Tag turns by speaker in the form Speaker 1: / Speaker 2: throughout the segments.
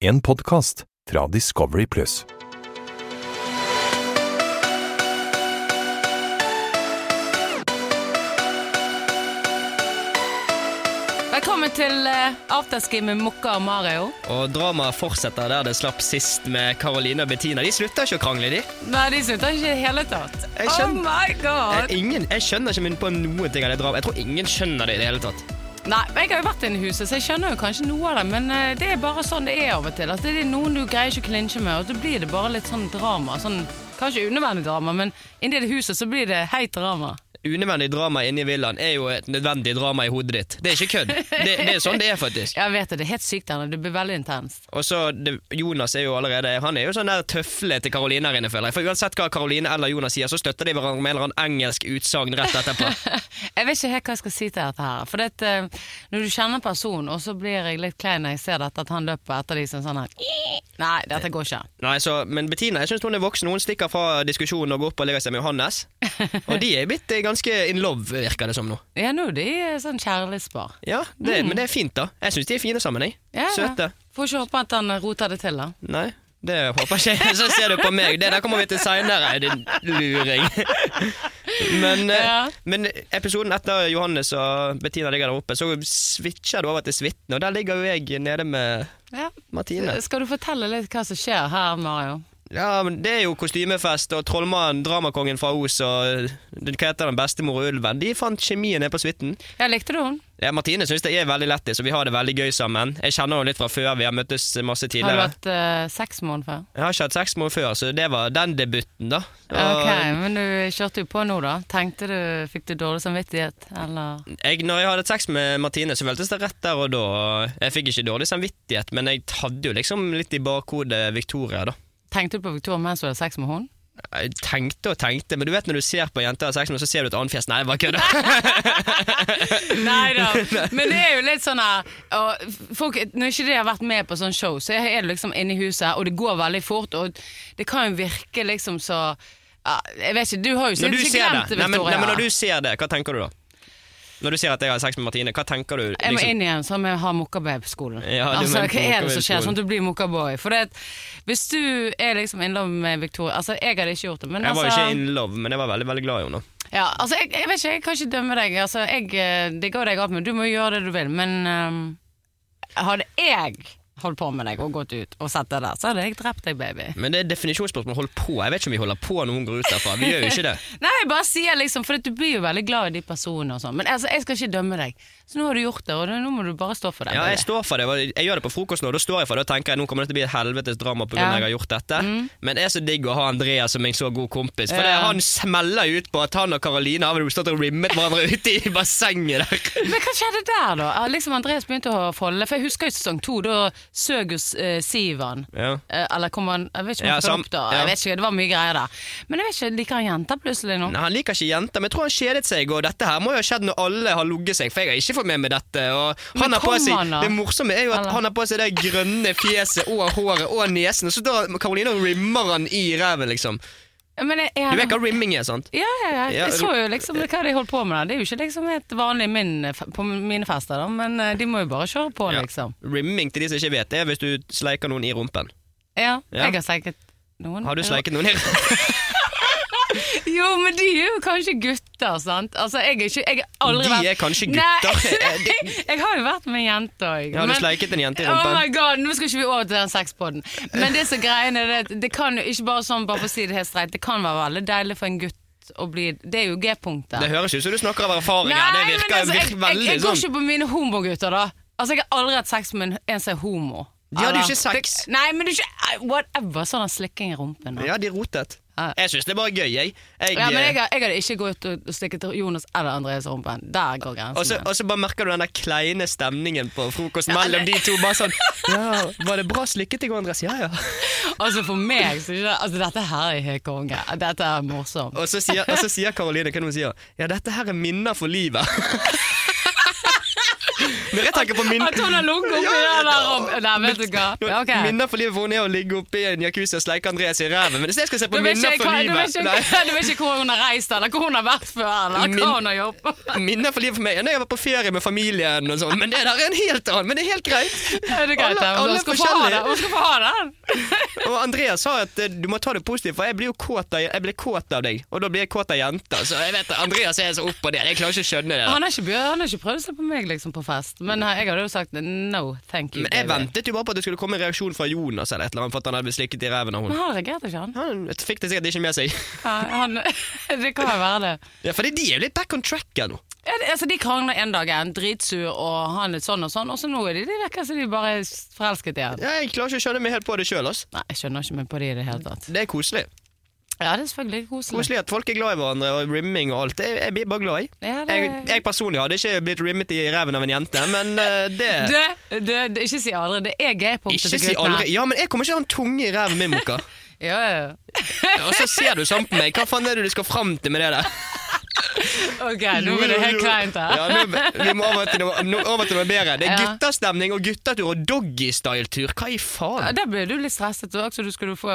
Speaker 1: En podkast fra Discovery Pluss.
Speaker 2: Velkommen til eh, afterski med Mokka og Mario.
Speaker 3: Og dramaet fortsetter der det slapp sist med Caroline og Bettina. De slutter ikke å krangle, de.
Speaker 2: Nei, de slutter ikke i det hele tatt.
Speaker 3: Jeg
Speaker 2: Oh
Speaker 3: skjønner-
Speaker 2: my god!
Speaker 3: Jeg, Eh, ingen, jeg skjønner ikke min på noen ting av det dramaet. Jeg tror ingen skjønner det i det hele tatt.
Speaker 2: Nei, men Jeg har jo vært inne i huset, så jeg skjønner jo kanskje noe av det. Men eh, det er bare sånn det er av og til. Altså, det er noen du greier ikke å klinsje med, og så blir det bare litt sånn drama. Sånn, kanskje unødvendig drama, men inni det huset så blir det heit drama.
Speaker 3: Unødvendig drama inne i villaen er jo et nødvendig drama i hodet ditt. Det er ikke kødd. Det, det er sånn det er, faktisk.
Speaker 2: Jeg vet det, det er helt sykt her nå. Det blir veldig intenst.
Speaker 3: Og så det- Jonas er jo allerede Han er jo sånn der tøfle til Caroline her inne, føler jeg. For uansett hva Caroline eller Jonas sier, så støtter de hverandre med en eller annen engelsk utsagn rett etterpå.
Speaker 2: Jeg vet ikke helt hva jeg skal si til dette her. For det, at, eh, når du kjenner personen, og så blir jeg litt klein når jeg ser dette, at han løper etter de som sånn her Nei, dette går ikke.
Speaker 3: Nei, så, Men Bettina jeg synes hun er voksen. Hun stikker fra diskusjonen og går opp og legger seg med Johannes. Og de er blitt eh, ganske in love, virker det som nå.
Speaker 2: Ja, nå er de eh, sånn kjærlighetspar.
Speaker 3: Ja, det, men det er fint, da. Jeg syns de er fine sammen. Jeg.
Speaker 2: Mm. Ja, ja.
Speaker 3: Søte.
Speaker 2: Får ikke håpe at han eh, roter det til, da.
Speaker 3: Nei, det håper jeg ikke. Så ser du på meg. Det der kommer vi til seinere, din luring. Men, eh,
Speaker 2: Ja.
Speaker 3: men episoden etter Johannes og Bettina ligger der oppe, så switcher du over til suiten, og der ligger jo jeg nede med
Speaker 2: Ja.
Speaker 3: Martine.
Speaker 2: Skal du fortelle litt hva som skjer her, Mario?
Speaker 3: Ja, men Det er jo kostymefest, og trollmannen, dramakongen fra Os og den- hva heter den bestemor og ulven De fant kjemien nede på suiten.
Speaker 2: Ja, likte du hun?
Speaker 3: Ja, Martine syns det er veldig lættis, og vi har det veldig gøy sammen. Jeg kjenner henne litt fra før, vi har møttes masse tidligere.
Speaker 2: Har du hatt eh, sex med henne før?
Speaker 3: Jeg har ikke hatt sex med henne før, så det var den debuten, da. Og
Speaker 2: Ok, men du kjørte jo på nå, da. Tenkte du, Fikk du dårlig samvittighet, eller?
Speaker 3: jeg, når jeg hadde sex med Martine, så føltes det rett der og da. og Jeg fikk ikke dårlig samvittighet, men jeg hadde jo liksom litt i bakhodet Victoria, da.
Speaker 2: Tenkte du på Victoria mens du hadde sex med henne?
Speaker 3: Jeg tenkte og tenkte, men du vet når du ser på en jente og har sex med henne, så ser du et annet fjes. Nei, jeg bare kødder.
Speaker 2: Nei da. Men det er jo litt sånn her og folk, Når ikke de har vært med på sånn show, så er du liksom inne i huset, og det går veldig fort, og det kan jo virke liksom så ja, Jeg vet ikke, du har jo
Speaker 3: Når du
Speaker 2: sikkert
Speaker 3: ser
Speaker 2: glemt det,
Speaker 3: det, nei, men, nei,
Speaker 2: Victoria.
Speaker 3: men når du ser det, hva tenker du da? Når du ser at jeg har sex med Martine, hva tenker du?
Speaker 2: Jeg må
Speaker 3: liksom?
Speaker 2: inn igjen, som jeg har mokkababe-skolen.
Speaker 3: Ja, du
Speaker 2: altså,
Speaker 3: mener
Speaker 2: hva er det som skjer?
Speaker 3: mokkababe-skolen.
Speaker 2: Sånn at du blir mokkaboy. For det, at hvis du er liksom in love med Victoria Altså, jeg hadde ikke gjort det, men
Speaker 3: Jeg var jo
Speaker 2: altså
Speaker 3: ikke in love, men jeg var veldig veldig glad i henne.
Speaker 2: ja, altså, jeg, jeg vet ikke, jeg kan ikke dømme deg. Altså, jeg eh, digger deg alt, men du må gjøre det du vil. Men ehm, hadde jeg holdt på med deg og gått ut og sett deg der, så hadde jeg drept deg, baby.
Speaker 3: Men det er definisjonsspørsmål. Hold på. Jeg vet ikke om vi holder på når hun går ut derfra. Vi gjør jo ikke det.
Speaker 2: Nei, jeg bare sier liksom, for at du blir jo veldig glad i de personene og sånn. Men altså, jeg skal ikke dømme deg. Så nå har du gjort det, og nå må du bare stå for det.
Speaker 3: Ja,
Speaker 2: baby.
Speaker 3: jeg står for det. og Jeg gjør det på frokost nå. Da står jeg for det og tenker jeg, nå kommer det til å bli et helvetes drama pga.
Speaker 2: Ja. Mm.
Speaker 3: at jeg har gjort dette. Men det er så digg å ha Andreas som en så god kompis. For det,
Speaker 2: Ja.
Speaker 3: han smeller jo ut på at han og Karoline har vel stått og rimmet hverandre ute i bassenget der.
Speaker 2: Men hva skjedde der, da? Ah, Liksom Andreas begynte å folde. For jeg husker jo sesong to, da søg jo eh, Sivan.
Speaker 3: Ja.
Speaker 2: Eh, eller kom han Jeg vet ikke om
Speaker 3: Ja,
Speaker 2: han kom
Speaker 3: sam-
Speaker 2: opp da.
Speaker 3: ja.
Speaker 2: Jeg vet ikke, Det var mye greier der. Men jeg vet ikke, liker han jenter plutselig nå?
Speaker 3: Nei, Han liker ikke jenter, men jeg tror han kjedet seg. Og dette her må jo ha skjedd når alle har ligget seg, for jeg har ikke fått med meg dette. Og
Speaker 2: Men
Speaker 3: han har på
Speaker 2: kom
Speaker 3: seg,
Speaker 2: han da?
Speaker 3: det morsomme er jo at
Speaker 2: Eller?
Speaker 3: han har på seg det grønne fjeset og håret og nesen, og så da Karoline og rimmer han i ræven, liksom.
Speaker 2: Men jeg,
Speaker 3: Du
Speaker 2: jeg,
Speaker 3: vet hva rimming er, sant?
Speaker 2: ja, ja, ja.
Speaker 3: Ja,
Speaker 2: Jeg så jo liksom hva de holdt på med der. Det er jo ikke liksom helt vanlig i min, eh, fe- på mine fester, da, men eh, de må jo bare kjøre på,
Speaker 3: Ja.
Speaker 2: liksom.
Speaker 3: Rimming til de som ikke vet, det er hvis du sleiker noen i rumpen.
Speaker 2: Ja,
Speaker 3: Ja.
Speaker 2: jeg har sleiket noen.
Speaker 3: Har du
Speaker 2: Ja.
Speaker 3: sleiket noen i rumpen?
Speaker 2: Jo, men de er jo kanskje gutter, sant? Altså, jeg er ikke jeg har aldri
Speaker 3: De
Speaker 2: vært...
Speaker 3: er kanskje
Speaker 2: Nei,
Speaker 3: gutter. Eh,
Speaker 2: nei, jeg har jo vært med en jente òg.
Speaker 3: Har du sleiket en jente i
Speaker 2: Oh my
Speaker 3: rumpen?
Speaker 2: god, Nå skal ikke vi over til den sexpodden. Men det som er greien er det, at det kan jo ikke bare sånn, bare for å si det helt streit, det kan være veldig deilig for en gutt å bli Det er jo G-punktet.
Speaker 3: Det høres ut som du snakker av erfaring her. Det virker
Speaker 2: altså, jeg,
Speaker 3: virker
Speaker 2: jeg,
Speaker 3: veldig
Speaker 2: jeg går
Speaker 3: sånn.
Speaker 2: ikke på mine homogutter, da. Altså, Jeg har aldri hatt sex med en- en som er homo.
Speaker 3: De hadde jo
Speaker 2: Eller-
Speaker 3: ikke sex.
Speaker 2: Det, nei, men det er ikke Whatever. Sånn slikking i rumpen. da.
Speaker 3: Ja, de rotet.
Speaker 2: Ja.
Speaker 3: Jeg syns det er bare gøy, jeg. jeg,
Speaker 2: Ja, men jeg,
Speaker 3: eh,
Speaker 2: har- jeg hadde ikke gått og og slikket Jonas eller Andreas i rumpen. Der går grensen.
Speaker 3: og så og så bare merker du den der kleine stemningen på frokosten mellom de to. Bare sånn Ja, var det bra slikket i går, Andres? Ja, ja.
Speaker 2: Altså For meg så er ikke det- altså, Dette her er helt konge. Dette er morsomt.
Speaker 3: Og så sier, og så sier Karoline hva er det hun sier? Ja, dette her er minner for livet. Når jeg tenker på min...
Speaker 2: At hun har ligget oppi der der og Nei, vet du hva. Ja, ok.
Speaker 3: Minner for livet for henne er å ligge oppi en jacuzzi og sleike Andreas i ræven. Men hvis jeg skal se på
Speaker 2: Du vet
Speaker 3: minner
Speaker 2: ikke,
Speaker 3: for
Speaker 2: hva- du vet
Speaker 3: livet
Speaker 2: ikke,
Speaker 3: Nei.
Speaker 2: du vet ikke hvor hun har reist, eller hvor hun har vært før, eller
Speaker 3: Min-
Speaker 2: hva hun har jobbet
Speaker 3: Minner for livet for meg er når jeg var på ferie med familien og sånn. Men det der er en helt annen. Men det er helt greit.
Speaker 2: Er det greit?
Speaker 3: Alle-
Speaker 2: da?
Speaker 3: alle
Speaker 2: Hun
Speaker 3: er
Speaker 2: skal få ha
Speaker 3: forskjellige.
Speaker 2: den. Hun skal få ha den.
Speaker 3: Og Andreas sa at eh, du må ta det positivt, for jeg blir jo kåt av, jeg blir kåt av deg. Og da blir jeg kåt av jenter. Så jeg vet det. Andreas er så opp på det. Jeg klarer ikke å skjønne det. der.
Speaker 2: Han har ikke, bjør- han har ikke prøvd seg på meg liksom, på fest, men jeg hadde jo sagt no, thank you.
Speaker 3: Men jeg
Speaker 2: baby.
Speaker 3: ventet jo bare på at det skulle komme en reaksjon fra Jonas eller et eller annet, for at han hadde blitt slikket i ræven av
Speaker 2: Men
Speaker 3: hun.
Speaker 2: han reagerte ikke, han.
Speaker 3: Han fikk det sikkert ikke med seg.
Speaker 2: Ja, han det kan jo være det.
Speaker 3: Ja, fordi de er jo litt back on track her nå.
Speaker 2: Ja, det- altså, de krangler en dag, en dritsur, og han er sånn og sånn, og så nå er de de virker som de bare er forelsket i han.
Speaker 3: Ja, jeg klarer ikke å skjønne meg helt på det sjøl.
Speaker 2: Nei, jeg skjønner ikke meg på det i det hele tatt.
Speaker 3: Det er koselig.
Speaker 2: Ja, det er selvfølgelig koselig.
Speaker 3: Koselig at folk er glad i hverandre, og rimming og alt. Jeg, jeg blir bare glad i.
Speaker 2: Ja, det-
Speaker 3: Jeg, jeg personlig hadde ikke blitt rimmet i ræven av en jente, men eh, det
Speaker 2: Du, du, du, ikke si aldri. Det er gay-punktet
Speaker 3: Ikke
Speaker 2: til
Speaker 3: si
Speaker 2: guttene.
Speaker 3: aldri. Ja, men jeg kommer ikke til å ha en tunge i ræven min, Moka.
Speaker 2: Ja, ja, ja.
Speaker 3: Og så ser du sånn på meg. Hva faen er det du skal fram til med det der?
Speaker 2: Ok, nå blir det helt kleint her.
Speaker 3: Ja, nå, vi må over til, noe, nå- over til noe bedre. Det er
Speaker 2: Ja.
Speaker 3: guttastemning og guttatur og doggystyle-tur. Hva i
Speaker 2: Ja,
Speaker 3: faen?
Speaker 2: Da ble du litt stresset. og Også du skulle få,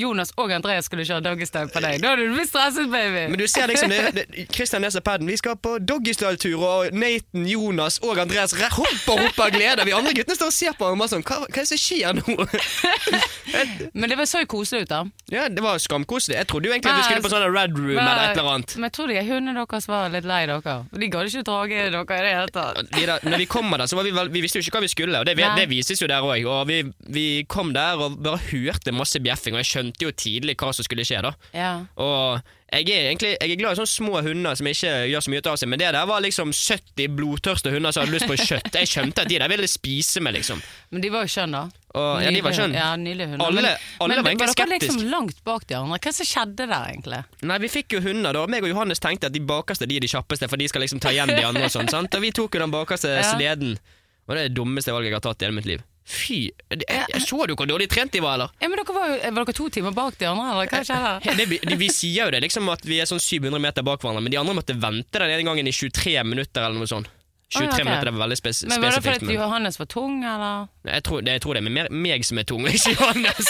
Speaker 2: Jonas og Andreas skulle kjøre doggystyle på deg. Da hadde du blitt stresset, baby.
Speaker 3: Men du ser liksom det, det Christian leser paden. Vi skal på doggystyle-tur, og Nathan, Jonas og Andreas re- hopper og hopper av glede. Vi andre guttene står og ser på ham og bare sånn Hva, hva er det som skjer nå?
Speaker 2: Men det var så koselig ut, da.
Speaker 3: Ja, Det var skamkoselig. Jeg trodde jo egentlig at vi skulle på sånn Red Room eller et eller annet.
Speaker 2: Men jeg tror de hundene deres var litt lei dere. De gadd ikke drage dere i det hele tatt.
Speaker 3: Vi da, når vi kommer der, så var vi, vel, vi visste jo ikke hva vi skulle, og det,
Speaker 2: Nei.
Speaker 3: det vises jo der òg. Og vi, vi kom der og bare hørte masse bjeffing, og jeg skjønte jo tidlig hva som skulle skje. da.
Speaker 2: Ja.
Speaker 3: Og jeg er egentlig jeg er glad i sånne små hunder som ikke gjør så mye ut av seg, men det der var liksom 70 blodtørste hunder som hadde lyst på kjøtt. Jeg skjønte at de der ville spise meg, liksom.
Speaker 2: Men de var jo skjønne, da.
Speaker 3: Og, ja, de var
Speaker 2: Nydelige-
Speaker 3: skjønne.
Speaker 2: Ja, nydelige hunder.
Speaker 3: Alle-
Speaker 2: Men-
Speaker 3: alle
Speaker 2: men
Speaker 3: var
Speaker 2: dere
Speaker 3: egentlig skeptisk.
Speaker 2: liksom langt bak de andre. Hva som skjedde der, egentlig?
Speaker 3: Nei, vi fikk jo hunder, da. Meg og Johannes tenkte at de bakerste de er de kjappeste, for de skal liksom ta igjen de andre og sånn, sant. Og vi tok jo den bakerste
Speaker 2: Ja.
Speaker 3: sleden. Og det er det dummeste valget jeg har tatt i hele mitt liv. Fy! Jeg, jeg så du hvor dårlig trent de var, eller?
Speaker 2: Ja, men dere var, jo, var dere to timer bak de andre, eller hva skjedde?
Speaker 3: He- Det, vi- vi sier jo det, liksom at vi er sånn 700 meter bak hverandre, men de andre måtte vente den ene gangen i 23 minutter eller noe sånt.
Speaker 2: Å, ja,
Speaker 3: 23
Speaker 2: ok.
Speaker 3: minutter det var veldig spes
Speaker 2: Men Var det
Speaker 3: spesifikt.
Speaker 2: fordi at
Speaker 3: Men
Speaker 2: Johannes var tung, eller?
Speaker 3: jeg, tror, det, jeg tror det er mer meg som er tung, ikke Johannes.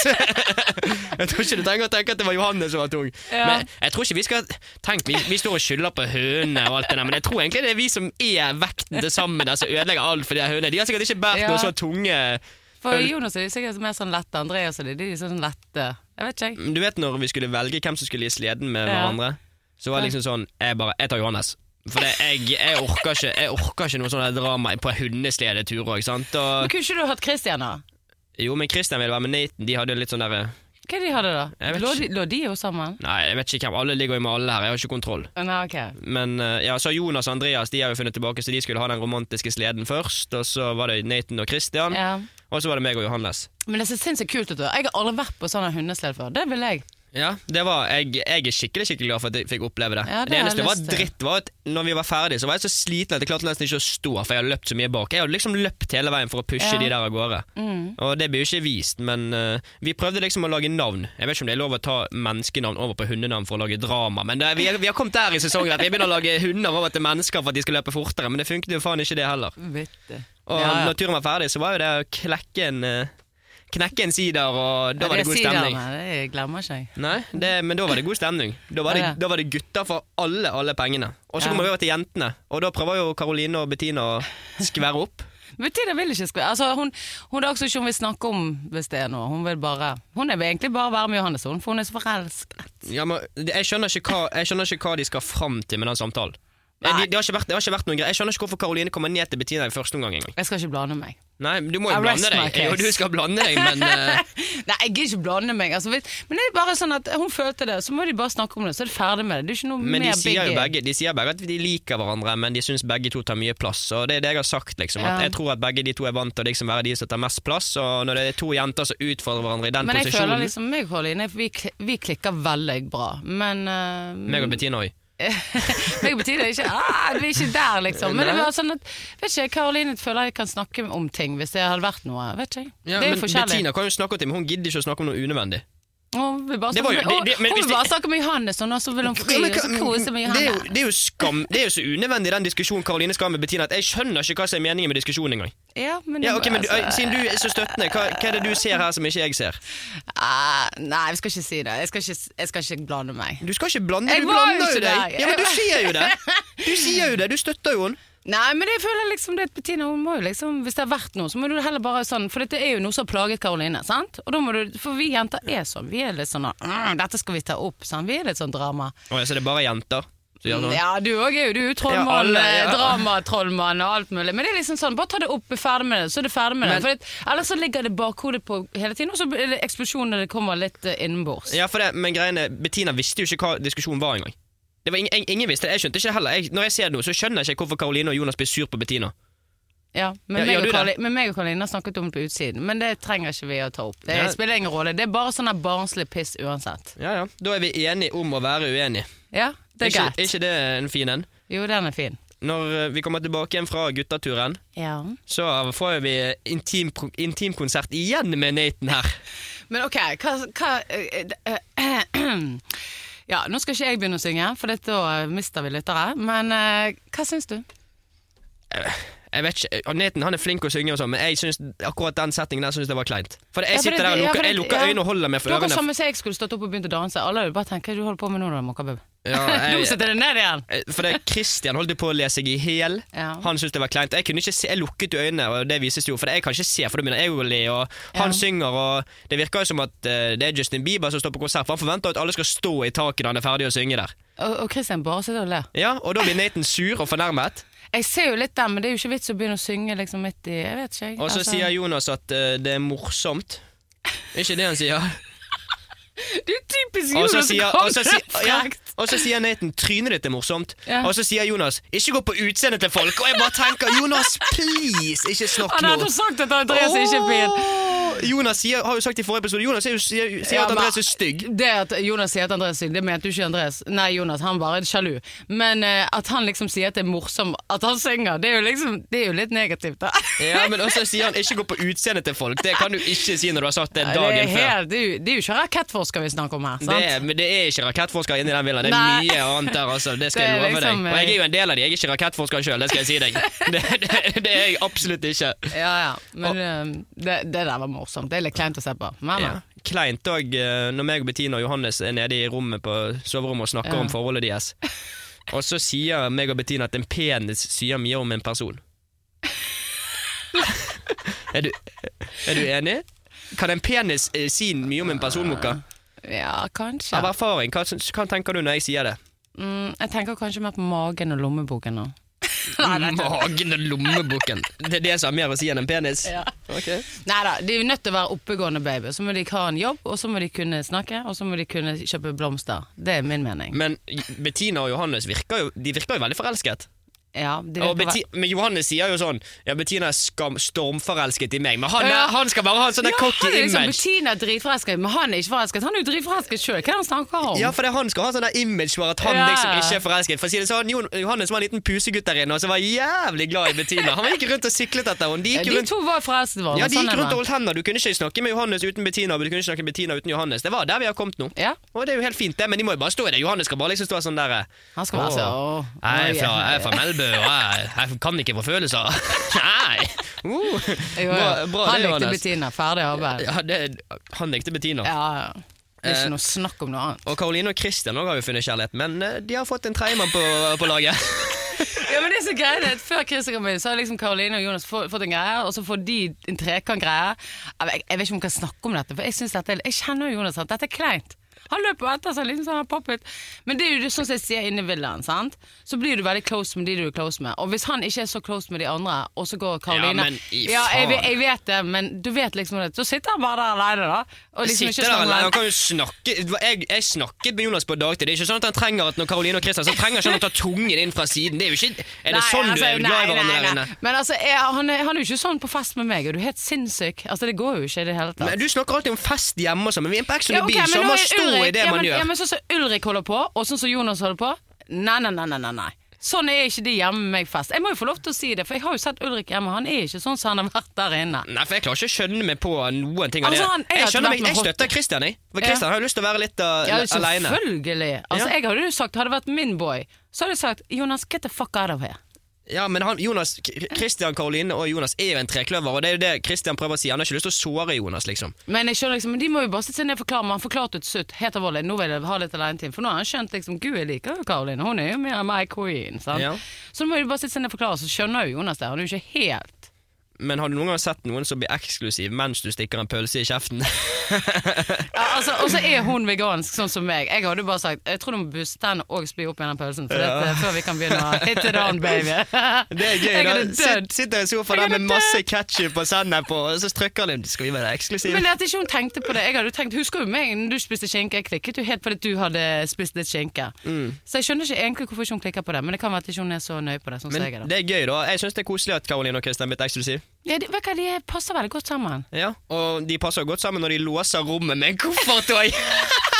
Speaker 3: jeg tror ikke du trenger å tenke at det var Johannes som var tung.
Speaker 2: Ja.
Speaker 3: Men jeg tror ikke vi skal Tenk, vi, vi står og skylder på hønene og alt det der, men jeg tror egentlig det er vi som er vekten til sammen der som ødelegger alt for de her hønene. De har sikkert ikke båret
Speaker 2: Ja.
Speaker 3: noe så tunge
Speaker 2: For Jonas er sikkert mer sånn lette, Andreas og de, de er sånn lette. Jeg vet ikke, jeg.
Speaker 3: Du vet når vi skulle velge hvem som skulle i sleden med
Speaker 2: Ja.
Speaker 3: hverandre? Så var det liksom sånn Jeg bare, jeg tar Johannes. For det, jeg, jeg, orker ikke, jeg orker ikke noe sånn der drama på hundesledetur òg, sant.
Speaker 2: Men
Speaker 3: Og,
Speaker 2: kunne ikke du hatt Christian, da?
Speaker 3: jo, men Christian ville være med Nathan. De hadde litt sånn derre
Speaker 2: Hva er det de hadde da?
Speaker 3: Jeg vet
Speaker 2: Lå
Speaker 3: ikke.
Speaker 2: de, lå de jo sammen?
Speaker 3: Nei, jeg vet ikke hvem. Alle ligger jo med alle her. Jeg har ikke kontroll.
Speaker 2: Å, Nei, ok.
Speaker 3: Men eh, ja, så Jonas og Andreas de har jo funnet tilbake, så de skulle ha den romantiske sleden først. Og så var det Nathan og Christian.
Speaker 2: Ja.
Speaker 3: Og så var det meg og Johannes.
Speaker 2: Men det ser sinnssykt kult ut. da. Jeg har aldri vært på sånn hundesled før. Det vil jeg.
Speaker 3: Ja, det var, jeg, jeg er skikkelig skikkelig glad for at jeg fikk oppleve det.
Speaker 2: Ja, det har
Speaker 3: det
Speaker 2: jeg
Speaker 3: eneste var
Speaker 2: lyst til.
Speaker 3: dritt var at når vi var ferdige, så var jeg så sliten at jeg klarte nesten ikke å stå, for jeg hadde løpt så mye bak. Jeg hadde liksom løpt hele veien for å pushe
Speaker 2: Ja.
Speaker 3: de der av gårde.
Speaker 2: Mm.
Speaker 3: Og det blir jo ikke vist, men eh, vi prøvde liksom å lage navn. Jeg vet ikke om det er lov å ta menneskenavn over på hundenavn for å lage drama, men det, vi, er- vi har kommet der i sesongen at vi begynner å lage hunder over til mennesker for at de skal løpe fortere, men det funket jo faen ikke det heller.
Speaker 2: Bitte.
Speaker 3: Og
Speaker 2: Ja, ja.
Speaker 3: når turen var ferdig, så var jo det å klekke en eh, Knekke en sider, og da
Speaker 2: Ja,
Speaker 3: var det god
Speaker 2: sier
Speaker 3: stemning.
Speaker 2: han, Det jeg glemmer ikke jeg.
Speaker 3: Nei, det, men da var det god stemning. Da var
Speaker 2: Ja, ja.
Speaker 3: det, da var det gutter for alle alle pengene. Og så
Speaker 2: Ja.
Speaker 3: kommer vi over til jentene, og da prøver jo Karoline og Bettina å skvære opp.
Speaker 2: Bettina vil ikke skvære. Altså, hun, hun er også ikke hun vil snakke om hvis det er noe. Hun vil bare Hun vil egentlig bare være med Johannes, hun, for hun er så forelsket.
Speaker 3: Ja, men jeg skjønner, ikke hva, jeg skjønner ikke hva de skal fram til med den samtalen. Eh,
Speaker 2: Nei.
Speaker 3: de- Det har, ikke vært, det har ikke vært noen greier Jeg skjønner ikke hvorfor Karoline kommer ned til Bettina i første omgang engang.
Speaker 2: Jeg skal ikke blande meg.
Speaker 3: Nei, men du må jo
Speaker 2: I rest
Speaker 3: blande
Speaker 2: my
Speaker 3: deg.
Speaker 2: case.
Speaker 3: Jo, du skal blande deg, men eh,
Speaker 2: Nei, jeg gidder ikke blande meg. Altså, vet, men det er bare sånn at hun følte det, så må de bare snakke om det, så er det ferdig med det. Det er ikke noe
Speaker 3: Men de
Speaker 2: mer
Speaker 3: sier jo
Speaker 2: biggie.
Speaker 3: begge, de sier begge at de liker hverandre, men de syns begge to tar mye plass. Og det er det jeg har sagt, liksom. At
Speaker 2: Ja.
Speaker 3: jeg tror at begge de to er vant til å liksom være de som tar mest plass. Og når det er to jenter som utfordrer hverandre i den
Speaker 2: Men jeg
Speaker 3: posisjonen
Speaker 2: føler liksom meg og Karoline, vi, kl- vi klikker veldig bra. Men eh,
Speaker 3: Meg og Bettina òg.
Speaker 2: meg og Bettina er ikke ah, Vi er ikke der, liksom. Men det var sånn at Vet ikke, Karoline føler jeg kan snakke om ting hvis det hadde vært noe. Vet ikke. jeg. det er jo forskjellig.
Speaker 3: Bettina kan jo snakke om ting, men hun gidder ikke å snakke om noe unødvendig.
Speaker 2: Hun vil bare
Speaker 3: Det var
Speaker 2: snakke
Speaker 3: jo-
Speaker 2: med-
Speaker 3: det- det-
Speaker 2: Å,
Speaker 3: men
Speaker 2: hun
Speaker 3: hvis
Speaker 2: vil
Speaker 3: det-
Speaker 2: bare snakke med Johannes, og så vil hun fri,
Speaker 3: Ja, men
Speaker 2: og så
Speaker 3: hva-
Speaker 2: kose med
Speaker 3: det, er jo,
Speaker 2: Johannes.
Speaker 3: det er jo skam Det er jo så unødvendig den diskusjonen Karoline skal ha med Bettina, at jeg skjønner ikke hva som er meningen med diskusjonen engang.
Speaker 2: Ja, men,
Speaker 3: Ja,
Speaker 2: det-
Speaker 3: ok, men du,
Speaker 2: altså,
Speaker 3: Siden du er så støttende, hva, hva er det du ser her som ikke jeg ser?
Speaker 2: eh, Nei, vi skal ikke si det. Jeg skal ikke, jeg skal ikke blande meg.
Speaker 3: Du skal ikke blande,
Speaker 2: Jeg
Speaker 3: du
Speaker 2: var jo
Speaker 3: blander jo
Speaker 2: ikke
Speaker 3: deg!
Speaker 2: der.
Speaker 3: Ja, men Du
Speaker 2: Jeg-
Speaker 3: sier jo det! Du sier jo det, du støtter jo henne.
Speaker 2: Nei, men jeg føler liksom det at Bettina hun må jo liksom Hvis det har vært noe, så må du heller bare sånn For dette er jo noe som har plaget Karoline, sant? Og da må du For vi jenter er sånn. Vi er litt sånn «Mm, Dette skal vi ta opp, sant? Vi er litt sånn drama.
Speaker 3: Å, ja, så det er bare jenter? som gjør sånn?
Speaker 2: Mm, Ja, du òg er jo du er jo trollmann,
Speaker 3: Ja, alle, ja.
Speaker 2: eh, dramatrollmann og alt mulig. Men det er liksom sånn, bare ta det opp, er ferdig med det, så er det ferdig med det.
Speaker 3: Men-
Speaker 2: For at, ellers så ligger det bakhodet på hele tiden, og så er det eksplosjon når det kommer litt eh, innenbords.
Speaker 3: Ja, for det, men greiene Bettina visste jo ikke hva diskusjonen var engang. Det var ingen, ing- ingen visste det, Jeg skjønte ikke det heller. Jeg, når jeg ser det nå, så skjønner jeg ikke hvorfor Karoline og Jonas blir sur på Bettina.
Speaker 2: Ja, men,
Speaker 3: Ja,
Speaker 2: meg
Speaker 3: gjør
Speaker 2: og
Speaker 3: du
Speaker 2: Karli,
Speaker 3: det?
Speaker 2: men meg og Karoline har snakket om det på utsiden, men det trenger ikke vi å ta opp. Det
Speaker 3: Ja.
Speaker 2: spiller ingen rolle. Det er bare sånn der barnslig piss uansett.
Speaker 3: Ja, ja. Da er vi enige om å være uenige.
Speaker 2: Ja, det er
Speaker 3: ikke,
Speaker 2: greit.
Speaker 3: er ikke det en fin en?
Speaker 2: Jo, den er fin.
Speaker 3: Når eh, vi kommer tilbake igjen fra guttaturen,
Speaker 2: Ja.
Speaker 3: så får vi intim- intimkonsert igjen med Nathan her.
Speaker 2: Men ok, hva, hva eh, eh, Ja, nå skal ikke jeg begynne å synge, for dette, da mister vi lyttere. Men eh, hva syns du?
Speaker 3: Jeg vet ikke, og Nathan han er flink å synge, og sånn, men jeg synes, akkurat den settingen der synes jeg var kleint. For
Speaker 2: Ja,
Speaker 3: jeg
Speaker 2: for
Speaker 3: sitter
Speaker 2: det-
Speaker 3: der og
Speaker 2: ja, for
Speaker 3: lukker,
Speaker 2: det-
Speaker 3: jeg lukker
Speaker 2: ja.
Speaker 3: øynene og holder meg for
Speaker 2: Det var akkurat
Speaker 3: ørene.
Speaker 2: samme som jeg skulle stått opp og begynt å danse. Alle hadde bare tenkt hva er det du holder på med nå, da, Mokkabub.
Speaker 3: Ja,
Speaker 2: Nå
Speaker 3: jeg,
Speaker 2: sitter det ned igjen!
Speaker 3: for det Christian holdt jo på å le seg i hjel.
Speaker 2: Ja.
Speaker 3: Han syntes det var kleint. Jeg, kunne ikke se, jeg lukket jo øynene, og det vises jo, for jeg kan ikke se, for da begynner jeg å le. Og
Speaker 2: Ja.
Speaker 3: han synger, og det virker jo som at eh, det er Justin Bieber som står på konsert, for han forventer at alle skal stå i taket når han er ferdig å synge der.
Speaker 2: Og, og Christian bare sitter og ler.
Speaker 3: Ja, Og da blir Nathan sur og fornærmet,
Speaker 2: Jeg ser jo litt den, men det er jo ikke vits å begynne å synge liksom midt i Jeg vet ikke, jeg.
Speaker 3: og så
Speaker 2: Altså,
Speaker 3: sier Jonas at eh, det er morsomt. Ikke det han sier.
Speaker 2: Det er typisk
Speaker 3: Og
Speaker 2: Jonas
Speaker 3: så
Speaker 2: å
Speaker 3: sier,
Speaker 2: komme
Speaker 3: og så sier,
Speaker 2: frekt.
Speaker 3: ja, og så sier Nathan 'trynet ditt er morsomt',
Speaker 2: Ja.
Speaker 3: og så sier Jonas 'ikke gå på utseendet til folk', og jeg bare tenker 'Jonas, please, ikke snakk
Speaker 2: Han
Speaker 3: nå'.
Speaker 2: hadde sagt at Andreas ikke er fin.
Speaker 3: Åh, Jonas sier, har jo sagt i forrige episode Jonas sier, jo- sier, sier
Speaker 2: Ja,
Speaker 3: at
Speaker 2: men-
Speaker 3: Andreas er stygg.
Speaker 2: Det at Jonas sier at Andreas er stygg, det mente jo ikke Andreas. Nei, Jonas, han bare er sjalu. Men eh, at han liksom sier at det er morsomt at han synger, det er jo liksom Det er jo litt negativt, da.
Speaker 3: Ja, men også sier han 'ikke gå på utseendet til folk'. Det kan du ikke si når du har sagt det
Speaker 2: Nei,
Speaker 3: dagen
Speaker 2: det, er
Speaker 3: før.
Speaker 2: helt, det, er jo, det er jo ikke rakettforsker vi snakker om her. sant?
Speaker 3: Det er, men det er ikke rakettforskere inni den villaen. Det er
Speaker 2: Nei.
Speaker 3: mye annet der, altså. Det skal
Speaker 2: Det er
Speaker 3: jeg love
Speaker 2: liksom,
Speaker 3: deg. Og jeg er jo en del av de. Jeg er ikke rakettforsker sjøl, det skal jeg si deg. Det, det, det er jeg absolutt ikke.
Speaker 2: Ja, ja. Men eh, det, det der var morsomt. Det er litt kleint å se på. Men,
Speaker 3: Ja.
Speaker 2: men.
Speaker 3: Kleint òg når meg og Bettina og Johannes er nede i rommet på soverommet og snakker
Speaker 2: Ja.
Speaker 3: om forholdet deres. Og så sier meg og Bettina at en penis sier mye om en person. er, du, er du enig? Kan en penis eh, si mye om en person, Mokka?
Speaker 2: ja, kanskje.
Speaker 3: Av erfaring, hva, syns- hva tenker du når jeg sier det?
Speaker 2: Mm, jeg tenker kanskje mer på magen og lommeboken nå.
Speaker 3: Magen og lommeboken. Det er det som har mer å si enn en penis?
Speaker 2: Ja.
Speaker 3: Ok.
Speaker 2: Nei da, de er jo nødt til å være oppegående baby. Så må de ha en jobb, og så må de kunne snakke, og så må de kunne kjøpe blomster. Det er min mening.
Speaker 3: Men Bettina og Johannes virker jo, de virker jo veldig forelsket.
Speaker 2: Ja, de
Speaker 3: Og
Speaker 2: vet hva-
Speaker 3: Beti men Johannes sier jo sånn Ja, Bettina er skam stormforelsket i meg, men han,
Speaker 2: Ja.
Speaker 3: er, han skal bare ha en sånn der
Speaker 2: ja,
Speaker 3: cocky
Speaker 2: han er liksom
Speaker 3: image.
Speaker 2: Bettina er dritforelsket, men han er ikke forelsket. Han er jo dritforelsket sjøl. Hva er det han snakker om?
Speaker 3: Ja, for det, Han skal ha sånn der image for at han
Speaker 2: Ja.
Speaker 3: liksom ikke er forelsket. For å si det sånn, Jon- Johannes var en liten pusegutt der inne og så var jævlig glad i Bettina. Han gikk rundt og siklet etter henne. De
Speaker 2: Ja,
Speaker 3: gikk
Speaker 2: de
Speaker 3: rundt,
Speaker 2: to var forelsket i hverandre.
Speaker 3: ja, de
Speaker 2: sånn er
Speaker 3: gikk rundt
Speaker 2: det.
Speaker 3: og holdt hender. Du kunne ikke snakke med Johannes uten Bettina, og du kunne ikke snakke med Bettina uten Johannes. Det var der vi har kommet nå.
Speaker 2: ja,
Speaker 3: Og det er jo helt fint, det, men de må jo bare stå i det. Johannes skal bare liksom stå sånn der
Speaker 2: han skal være
Speaker 3: Åh.
Speaker 2: så åh,
Speaker 3: Jeg er fra,
Speaker 2: åh,
Speaker 3: jeg er fra Melbu, og jeg, jeg kan ikke få følelser. Nei! Uh.
Speaker 2: Jo, jo.
Speaker 3: Bra, bra
Speaker 2: Han
Speaker 3: det,
Speaker 2: likte
Speaker 3: Johannes.
Speaker 2: Bettina. Ferdig arbeid.
Speaker 3: Ja, det, han likte Bettina.
Speaker 2: Ja, ja. Det er
Speaker 3: Eh,
Speaker 2: ikke noe snakk om noe annet.
Speaker 3: Og Karoline og Christian også har jo funnet kjærlighet, men eh, de har fått en tredjemann på, på laget.
Speaker 2: Ja, men det er så greit at Før Christer kom inn, så har liksom Karoline og Jonas få- fått en greie, og så får de en trekant-greie. Jeg, vet- jeg vet ikke om vi kan snakke om dette, for jeg, synes dette, er- jeg kjenner jo Jonas at dette er kleint. Han løper etter seg liksom sånn han har poppet. Men det er jo det- sånn som jeg sier inne i villaen, sant. Så blir du veldig close med de du er close med. Og hvis han ikke er så close med de andre, og så går Karoline
Speaker 3: Ja, men i
Speaker 2: jeg,
Speaker 3: faen.
Speaker 2: ve- jeg vet det, men du vet liksom det. Så sitter han bare der aleine, da. Og liksom ikke
Speaker 3: Sitter der
Speaker 2: snakker med
Speaker 3: alene, han
Speaker 2: han.
Speaker 3: kan jo snakke jeg, jeg snakket med Jonas på dagtid. Det er ikke sånn at han trenger at når Karoline og Christian så trenger ikke han å ta tungen inn fra siden. Det er jo ikke Er det
Speaker 2: Nei,
Speaker 3: sånn
Speaker 2: altså,
Speaker 3: du er glad i
Speaker 2: nei, nei,
Speaker 3: hverandre der
Speaker 2: nei.
Speaker 3: inne?
Speaker 2: Men altså, jeg, han, er, han er jo ikke sånn på fest med meg, og du er helt sinnssyk. Altså, det går jo ikke i det hele tatt.
Speaker 3: Men Du snakker alltid om fest hjemme og sånn, men vi er på Ex on
Speaker 2: Ja,
Speaker 3: the
Speaker 2: ok,
Speaker 3: Beach,
Speaker 2: men
Speaker 3: så
Speaker 2: nå
Speaker 3: man
Speaker 2: er
Speaker 3: stå i
Speaker 2: Ulrik-
Speaker 3: det
Speaker 2: ja,
Speaker 3: man
Speaker 2: men, Ja,
Speaker 3: gjør.
Speaker 2: men sånn som Ulrik holder på, og sånn som Jonas holder på Nei, nei, nei, nei, nei, nei. Sånn er ikke de hjemme med meg fest. Jeg må jo få lov til å si det, for jeg har jo sett Ulrik hjemme. Han er ikke sånn som han har vært der inne.
Speaker 3: Nei, for jeg klarer ikke å skjønne meg på noen ting av
Speaker 2: Altså, han-
Speaker 3: det.
Speaker 2: jeg
Speaker 3: Jeg,
Speaker 2: har
Speaker 3: skjønner
Speaker 2: vært
Speaker 3: meg,
Speaker 2: med
Speaker 3: jeg
Speaker 2: Holte.
Speaker 3: støtter Christian, jeg. For
Speaker 2: Ja.
Speaker 3: Christian har jo lyst til å være litt uh,
Speaker 2: Ja,
Speaker 3: alene.
Speaker 2: selvfølgelig. Altså,
Speaker 3: Ja.
Speaker 2: Jeg hadde jo sagt, hadde det vært min boy, så hadde jeg sagt Jonas, get the fuck out of here.
Speaker 3: Ja, men han, Jonas, K- Christian, Karoline og Jonas er jo en trekløver, og det er jo det Christian prøver å si. Han har ikke lyst til å såre Jonas, liksom.
Speaker 2: Men jeg skjønner liksom, men de må jo bare sitte seg ned og forklare, men han forklarte jo til slutt, helt alvorlig, nå vil jeg ha litt alenetid, for nå har han skjønt liksom, gud jeg liker jo Karoline, hun er jo mer my queen, sant?
Speaker 3: Ja.
Speaker 2: Så nå må de bare sitte seg ned og forklare, så skjønner jo Jonas det, han er jo ikke helt.
Speaker 3: Men har du noen gang sett noen som blir eksklusiv mens du stikker en pølse i kjeften?
Speaker 2: Ja, altså, og så er hun vegansk, sånn som meg. Jeg hadde jo bare sagt, jeg tror du må busse den og spy opp igjen den pølsen, for dette, før vi kan begynne å hit it on, baby.
Speaker 3: Det er gøy,
Speaker 2: Jeg
Speaker 3: da.
Speaker 2: hadde
Speaker 3: Sitt,
Speaker 2: dødd.
Speaker 3: sitter i sofaen
Speaker 2: Jeg
Speaker 3: der
Speaker 2: hadde
Speaker 3: med masse ketsjup og sennep, og så trykker de Skal vi være eksklusive?
Speaker 2: Men at ikke hun tenkte på det. Jeg hadde jo tenkt, Husker jo meg når du spiste skinke? Jeg klikket jo helt fordi du hadde spist litt skinke.
Speaker 3: Mm.
Speaker 2: Så jeg skjønner ikke egentlig hvorfor ikke hun klikker på det, men det kan være at ikke hun er så nøye på det. Sånn som jeg er da.
Speaker 3: Men det er gøy, da. Jeg syns det er koselig at Karoline og Christian er blitt eksklusiv.
Speaker 2: Ja, de, vet du hva, de passer veldig godt sammen.
Speaker 3: Ja. Og de passer godt sammen når de låser rommet med en koffert. Og...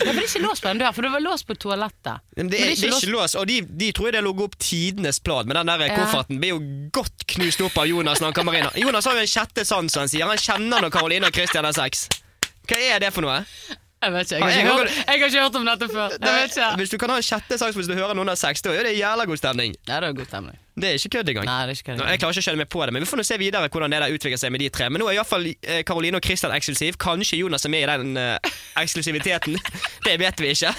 Speaker 2: Jeg ble ikke låst på den døren, for det var låst på toalettet.
Speaker 3: Men det,
Speaker 2: Men
Speaker 3: er, det er ikke lås, og de, de tror jo det lå opp tidenes plan, men den der eh,
Speaker 2: Ja.
Speaker 3: kofferten blir jo godt knust opp av Jonas når han kommer inn. Jonas har jo en sjette sans, han sier. Han kjenner når Karoline og Christian har sex. Hva er det for noe?
Speaker 2: Jeg vet ikke,
Speaker 3: Nei,
Speaker 2: jeg har
Speaker 3: jeg
Speaker 2: ikke,
Speaker 3: kan-
Speaker 2: hørt, jeg har ikke hørt om dette før. Jeg vet ikke.
Speaker 3: Hvis du kan ha en sjette sans hvis du hører noen har sex, da er det jævla god stemning.
Speaker 2: Nei, det er god stemning.
Speaker 3: Det er ikke kødd engang.
Speaker 2: Nei, det er ikke
Speaker 3: Nå,
Speaker 2: det.
Speaker 3: Jeg klarer ikke å skjønne meg på det, men vi får nå se videre hvordan det der utvikler seg med de tre. Men nå er iallfall Karoline eh, og Christian eksklusiv. Kanskje Jonas er med i den eh, eksklusiviteten. det vet vi ikke.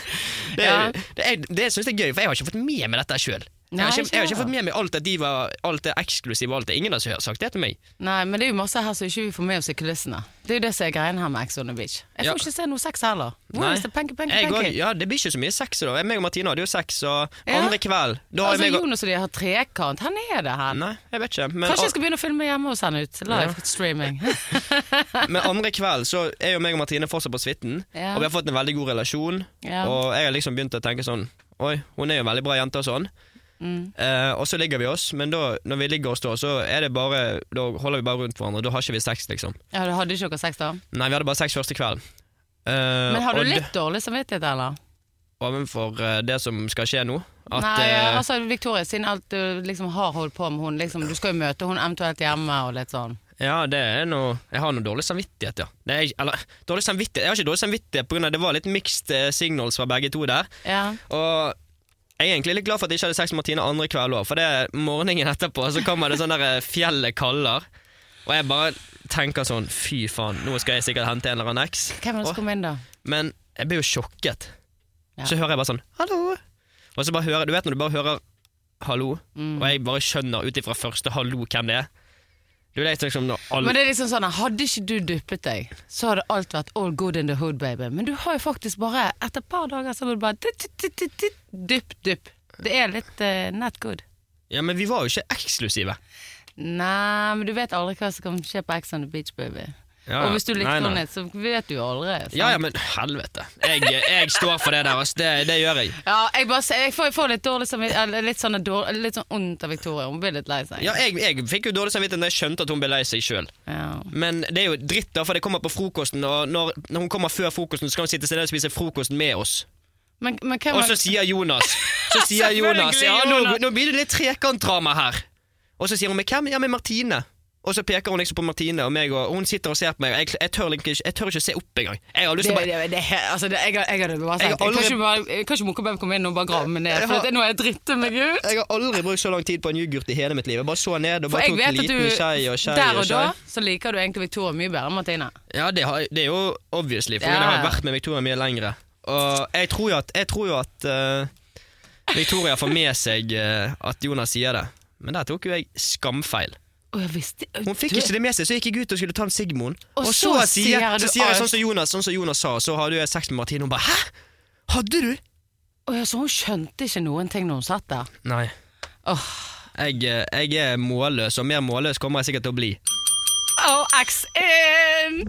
Speaker 3: Det,
Speaker 2: Ja.
Speaker 3: det, jeg- det syns jeg er gøy, for jeg har ikke fått med meg dette sjøl. Jeg,
Speaker 2: Nei,
Speaker 3: har ikke-
Speaker 2: ikke
Speaker 3: jeg har ikke
Speaker 2: heller.
Speaker 3: fått med meg alt, at de var, alt det eksklusive og alt det. Ingen har sagt det til meg.
Speaker 2: Nei, men det er jo masse her som ikke vi får med oss i kulissene. Det er jo det som er greien her med Ex on the Beach. Jeg
Speaker 3: Ja.
Speaker 2: får ikke se noe sex heller. Hvor
Speaker 3: Nei.
Speaker 2: er det penke, penke,
Speaker 3: Jeg går-
Speaker 2: penke?
Speaker 3: ja, det blir ikke så mye sex. da. Jeg meg og Martine hadde jo sex, og
Speaker 2: Ja.
Speaker 3: andre kveld da har
Speaker 2: Altså,
Speaker 3: jeg meg og-
Speaker 2: Jonas og de har trekant. Han er det, han.
Speaker 3: Nei, jeg vet ikke. Men,
Speaker 2: Kanskje jeg skal begynne å filme hjemme hos han ut. Live streaming.
Speaker 3: Men andre kveld så er jo meg og Martine fortsatt på suiten,
Speaker 2: Ja.
Speaker 3: og vi har fått en veldig god relasjon.
Speaker 2: Ja.
Speaker 3: Og jeg har liksom begynt å tenke sånn Oi, hun er jo en veldig bra jente og sånn.
Speaker 2: Mm.
Speaker 3: Eh, og så ligger vi oss, men da, når vi ligger oss da, så er det bare Da holder vi bare rundt hverandre. Da har ikke vi sex, liksom.
Speaker 2: Ja, du hadde ikke dere sex da?
Speaker 3: Nei, vi hadde bare sex første kveld. Eh,
Speaker 2: Men har du
Speaker 3: og
Speaker 2: litt dårlig samvittighet, eller?
Speaker 3: d- Ovenfor eh, det som skal skje nå. At
Speaker 2: Nei,
Speaker 3: eh,
Speaker 2: altså Victoria, siden alt du liksom har holdt på med hun, liksom, du skal jo møte hun eventuelt hjemme og litt sånn.
Speaker 3: Ja, det er noe Jeg har noe dårlig samvittighet, ja. Det er, eller, dårlig samvittighet Jeg har ikke dårlig samvittighet pga. det var litt mixed eh, signals fra begge to der.
Speaker 2: Ja.
Speaker 3: Og jeg er egentlig litt glad for at jeg ikke hadde sex med Martine andre kveld òg, for det morgenen etterpå så kommer det sånn der eh, fjellet kaller, og jeg bare tenker sånn fy faen, nå skal jeg sikkert hente en eller annen eks.
Speaker 2: Hvem er det som
Speaker 3: Og-
Speaker 2: kom inn da?
Speaker 3: Men jeg blir jo sjokket.
Speaker 2: Ja.
Speaker 3: Så hører jeg bare sånn hallo, og så bare hører Du vet når du bare hører hallo,
Speaker 2: Mm.
Speaker 3: og jeg bare skjønner ut ifra første hallo hvem det er. Du vet liksom når alle
Speaker 2: Men det er liksom sånn, Hadde ikke du duppet deg, så hadde alt vært all good in the hood, baby. Men du har jo faktisk bare Etter et par dager så har du bare dytt, dytt, dytt, dytt, dypp, dypp. Det er litt eh, not good.
Speaker 3: Ja, men vi var jo ikke eksklusive.
Speaker 2: Nei, men du vet aldri hva som kan skje på Ex on the Beach, baby.
Speaker 3: Ja,
Speaker 2: Og hvis du
Speaker 3: nei,
Speaker 2: likte
Speaker 3: nei.
Speaker 2: henne, så vet du jo aldri. sant?
Speaker 3: Ja ja, men helvete. Jeg, jeg står for det der, altså. Det, det gjør jeg.
Speaker 2: Ja, jeg, bare, ser- jeg får, jeg får litt dårlig samvittighet eller Litt sånn dårlig, litt sånn ondt av Victoria. Hun blir litt lei seg.
Speaker 3: Ja, jeg, jeg fikk jo dårlig samvittighet da jeg skjønte at hun ble lei seg sjøl.
Speaker 2: Ja.
Speaker 3: Men det er jo dritt, da, for det kommer på frokosten, og når, når hun kommer før frokosten, så skal hun sitte seg ned og spise frokosten med oss.
Speaker 2: Men, men hvem
Speaker 3: Og så sier Jonas Så sier Jonas
Speaker 2: Selvfølgelig,
Speaker 3: Ja, nå,
Speaker 2: Jonas.
Speaker 3: nå blir det litt trekantdrama her. Og så sier hun med hvem? Ja, med Martine. Og så peker hun liksom på Martine og meg, og hun sitter og ser på meg. Jeg, jeg, tør, ikke, jeg tør ikke å se opp engang. Jeg har lyst
Speaker 2: det,
Speaker 3: til å
Speaker 2: det,
Speaker 3: bare
Speaker 2: det, altså, det, jeg, jeg hadde bare
Speaker 3: Jeg har
Speaker 2: sagt
Speaker 3: aldri-
Speaker 2: Kan ikke bare- jeg kan ikke Mokkabem komme inn og bare grave meg ned?
Speaker 3: Jeg
Speaker 2: For
Speaker 3: har-
Speaker 2: at nå er jeg dritter meg ut.
Speaker 3: jeg har aldri brukt så lang tid på en yoghurt i hele mitt liv. Jeg bare så ned og
Speaker 2: For
Speaker 3: bare
Speaker 2: jeg
Speaker 3: tok en
Speaker 2: vet at
Speaker 3: liten
Speaker 2: du
Speaker 3: skei og skei
Speaker 2: der
Speaker 3: og
Speaker 2: og
Speaker 3: skei.
Speaker 2: da så liker du egentlig Victoria mye bedre enn Martine.
Speaker 3: Ja, det, har, det er jo obviously, for
Speaker 2: Ja.
Speaker 3: jeg har vært med Victoria mye lengre. Og jeg tror jo at, jeg tror jo at eh, Victoria får med seg eh, at Jonas sier det. Men der tok jo jeg skamfeil.
Speaker 2: Å, jeg visste
Speaker 3: Hun fikk ikke det med seg, så jeg gikk jeg ut og skulle ta en Sigmund.
Speaker 2: Og
Speaker 3: Og, så,
Speaker 2: så
Speaker 3: sier,
Speaker 2: sier du
Speaker 3: så sier jeg
Speaker 2: alt.
Speaker 3: sånn som Jonas, sånn som Jonas sa, så hadde jo jeg sex med Martine. Hun bare 'hæ? Hadde du?'
Speaker 2: Å, ja, så hun skjønte ikke noen ting når hun satt der?
Speaker 3: Nei.
Speaker 2: Åh,
Speaker 3: Jeg, eh, jeg er målløs, og mer målløs kommer jeg sikkert til å bli.
Speaker 2: oh, X in!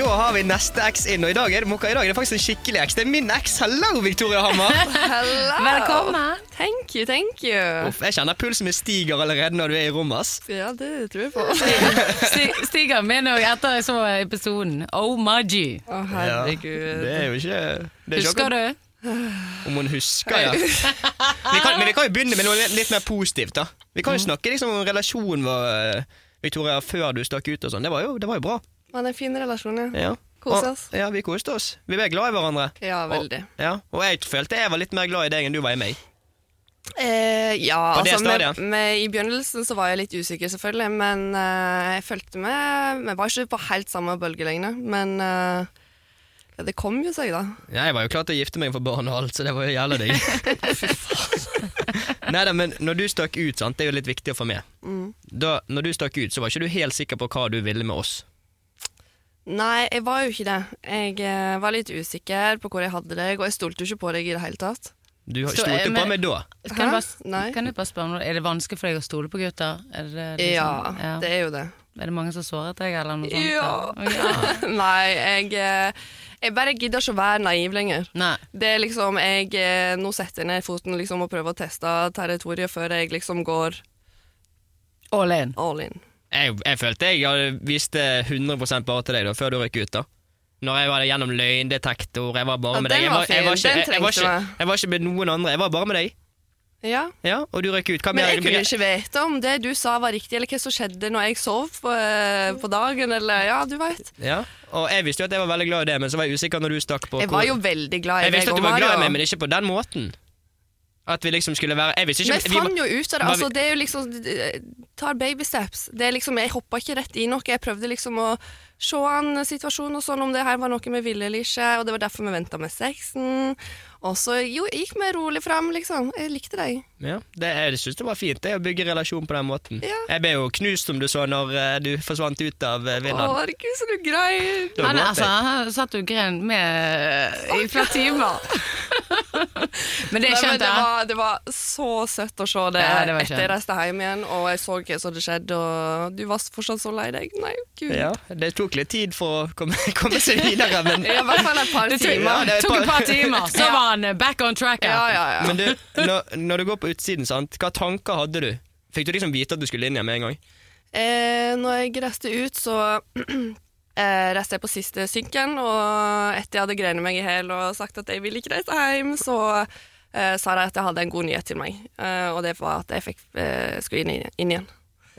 Speaker 3: Da har vi neste X inn, og i dag er det Mokka. I dag er det faktisk en skikkelig X. Det er min X. Hello, Victoria Hammer!
Speaker 4: Hello.
Speaker 2: Velkommen.
Speaker 4: Thank you, thank you.
Speaker 3: Uff, jeg kjenner pulsen min stiger allerede når du er i rommet, ass.
Speaker 4: Ja, det tror jeg på.
Speaker 2: Sti- Stiger min òg etter jeg så episoden. Oh my G.
Speaker 3: Ja,
Speaker 4: Å, herregud.
Speaker 3: Det er jo ikke det er ikke
Speaker 2: Husker
Speaker 3: akkurat-
Speaker 2: du?
Speaker 3: Om hun husker, ja. Vi kan, men vi kan jo begynne med noe litt mer positivt, da. Vi kan jo snakke liksom om relasjonen vår, eh, Victoria, før du stakk ut og sånn. Det, var jo- det var jo bra.
Speaker 4: Man er en fin relasjon, ja.
Speaker 3: Ja.
Speaker 4: Kose
Speaker 3: Og-
Speaker 4: oss.
Speaker 3: Ja, vi koste oss. Vi ble glad i hverandre.
Speaker 4: Ja, veldig.
Speaker 3: Og, ja. og jeg følte jeg var litt mer glad i deg enn du var i meg.
Speaker 4: Eh, ja,
Speaker 3: På det
Speaker 4: altså
Speaker 3: stadiet?
Speaker 4: med, med, I begynnelsen så var jeg litt usikker, selvfølgelig, men eh, jeg følte meg Vi var ikke på helt samme bølgelengde, men eh, ja, det kom jo seg, da.
Speaker 3: Ja, jeg var jo klar til å gifte meg for barn og alt, så det var jo jævla digg. Neida, men når du stakk ut, sant, det er jo litt viktig å få med.
Speaker 4: Mm.
Speaker 3: Da, når du stakk ut, så var ikke du helt sikker på hva du ville med oss.
Speaker 4: Nei, jeg var jo ikke det. Jeg eh, var litt usikker på hvor jeg hadde deg, og jeg stolte jo ikke på deg i det hele tatt.
Speaker 3: Du
Speaker 2: Så,
Speaker 3: stolte
Speaker 2: eh,
Speaker 3: jo på
Speaker 2: men-
Speaker 3: meg da.
Speaker 2: Kan
Speaker 4: Hæ?
Speaker 2: du, bare,
Speaker 4: Nei.
Speaker 2: kan du bare spørre om noe? Er det vanskelig for deg å stole på gutter? Er det,
Speaker 4: Ja,
Speaker 2: liksom, ja.
Speaker 4: det er jo det.
Speaker 2: Er det mange som såret deg, eller noe sånt?
Speaker 4: Ja.
Speaker 2: eller? ja.
Speaker 4: Nei, jeg, eh, jeg bare gidder ikke å være naiv lenger.
Speaker 2: Nei.
Speaker 4: Det er liksom, jeg eh, Nå setter jeg ned foten liksom, og prøver å teste territoriet før jeg liksom går
Speaker 2: All in.
Speaker 4: all in.
Speaker 3: Jeg, jeg følte jeg hadde viste 100 bare til deg da, før du røyk ut. da. Når jeg var gjennom løgndetektor, jeg var bare
Speaker 4: Ja,
Speaker 3: med
Speaker 4: den
Speaker 3: deg. Jeg
Speaker 4: var
Speaker 3: var, jeg,
Speaker 4: fin.
Speaker 3: var ikke,
Speaker 4: Den
Speaker 3: jeg, jeg, var
Speaker 4: trengte
Speaker 3: ikke,
Speaker 4: meg.
Speaker 3: jeg var ikke med noen andre, jeg var bare med deg.
Speaker 4: Ja.
Speaker 3: Ja, Og du røyk ut. Hva
Speaker 4: Men
Speaker 3: mer-
Speaker 4: jeg kunne ikke vite om det du sa var riktig, eller hva som skjedde når jeg sov på, eh, på dagen, eller ja, du veit.
Speaker 3: Ja, Og jeg visste jo at jeg var veldig glad i det, men så var jeg usikker når du stakk på
Speaker 4: Jeg
Speaker 3: hvor-
Speaker 4: var jo veldig glad i
Speaker 3: Jeg
Speaker 4: deg
Speaker 3: visste at du
Speaker 4: og
Speaker 3: var glad i
Speaker 4: Mario.
Speaker 3: meg, men ikke på den måten. At vi liksom skulle være Jeg visste ikke
Speaker 4: Vi fant jo ut av det.
Speaker 3: Hva
Speaker 4: Altså,
Speaker 3: vi-
Speaker 4: det er jo liksom eh, Tar baby steps. Det er liksom, jeg hoppa ikke rett i noe. Jeg prøvde liksom å se an situasjonen og sånn, om det her var noe vi ville eller ikke. Og det var derfor vi venta med sexen. Og så jo, gikk vi rolig fram, liksom. Jeg likte deg.
Speaker 3: ja, det, Jeg syns det var fint det å bygge relasjon på den måten.
Speaker 4: Ja.
Speaker 3: Jeg ble jo knust, som du så, når eh, du forsvant ut av eh,
Speaker 4: Å,
Speaker 3: villaen.
Speaker 4: herregud, så du greier.
Speaker 3: Da
Speaker 2: Han,
Speaker 3: gråt
Speaker 2: altså,
Speaker 3: jeg.
Speaker 2: han satt jo og gren med i flere timer. Men det
Speaker 4: Nei, men
Speaker 2: skjønte
Speaker 4: det,
Speaker 2: jeg.
Speaker 4: var, det var så søtt å se det,
Speaker 2: Ja, det var
Speaker 4: etter
Speaker 2: skjønt.
Speaker 4: jeg reiste hjem igjen, og jeg så hva som hadde skjedd, og du var fortsatt så lei deg. Nei, gud.
Speaker 3: Ja, det tok litt tid for å komme, komme seg videre, men,
Speaker 4: I hvert fall et par
Speaker 2: Det
Speaker 4: timer.
Speaker 3: Ja, det er
Speaker 2: tok,
Speaker 3: et
Speaker 2: tok
Speaker 3: par-
Speaker 2: et par timer, så
Speaker 4: Ja.
Speaker 2: var han eh, back on track.
Speaker 4: Ja, ja, ja.
Speaker 3: men du, når, når du går på utsiden, sant, hva tanker hadde du? Fikk du liksom vite at du skulle inn igjen med en gang?
Speaker 4: Eh, når jeg reiste ut, så eh, reiste jeg på siste synken, og etter jeg hadde grenet meg i hjel og sagt at jeg ville ikke reise hjem, så eh, sa de at jeg hadde en god nyhet til meg, eh, og det var at jeg fikk, eh, skulle inn, i- inn igjen.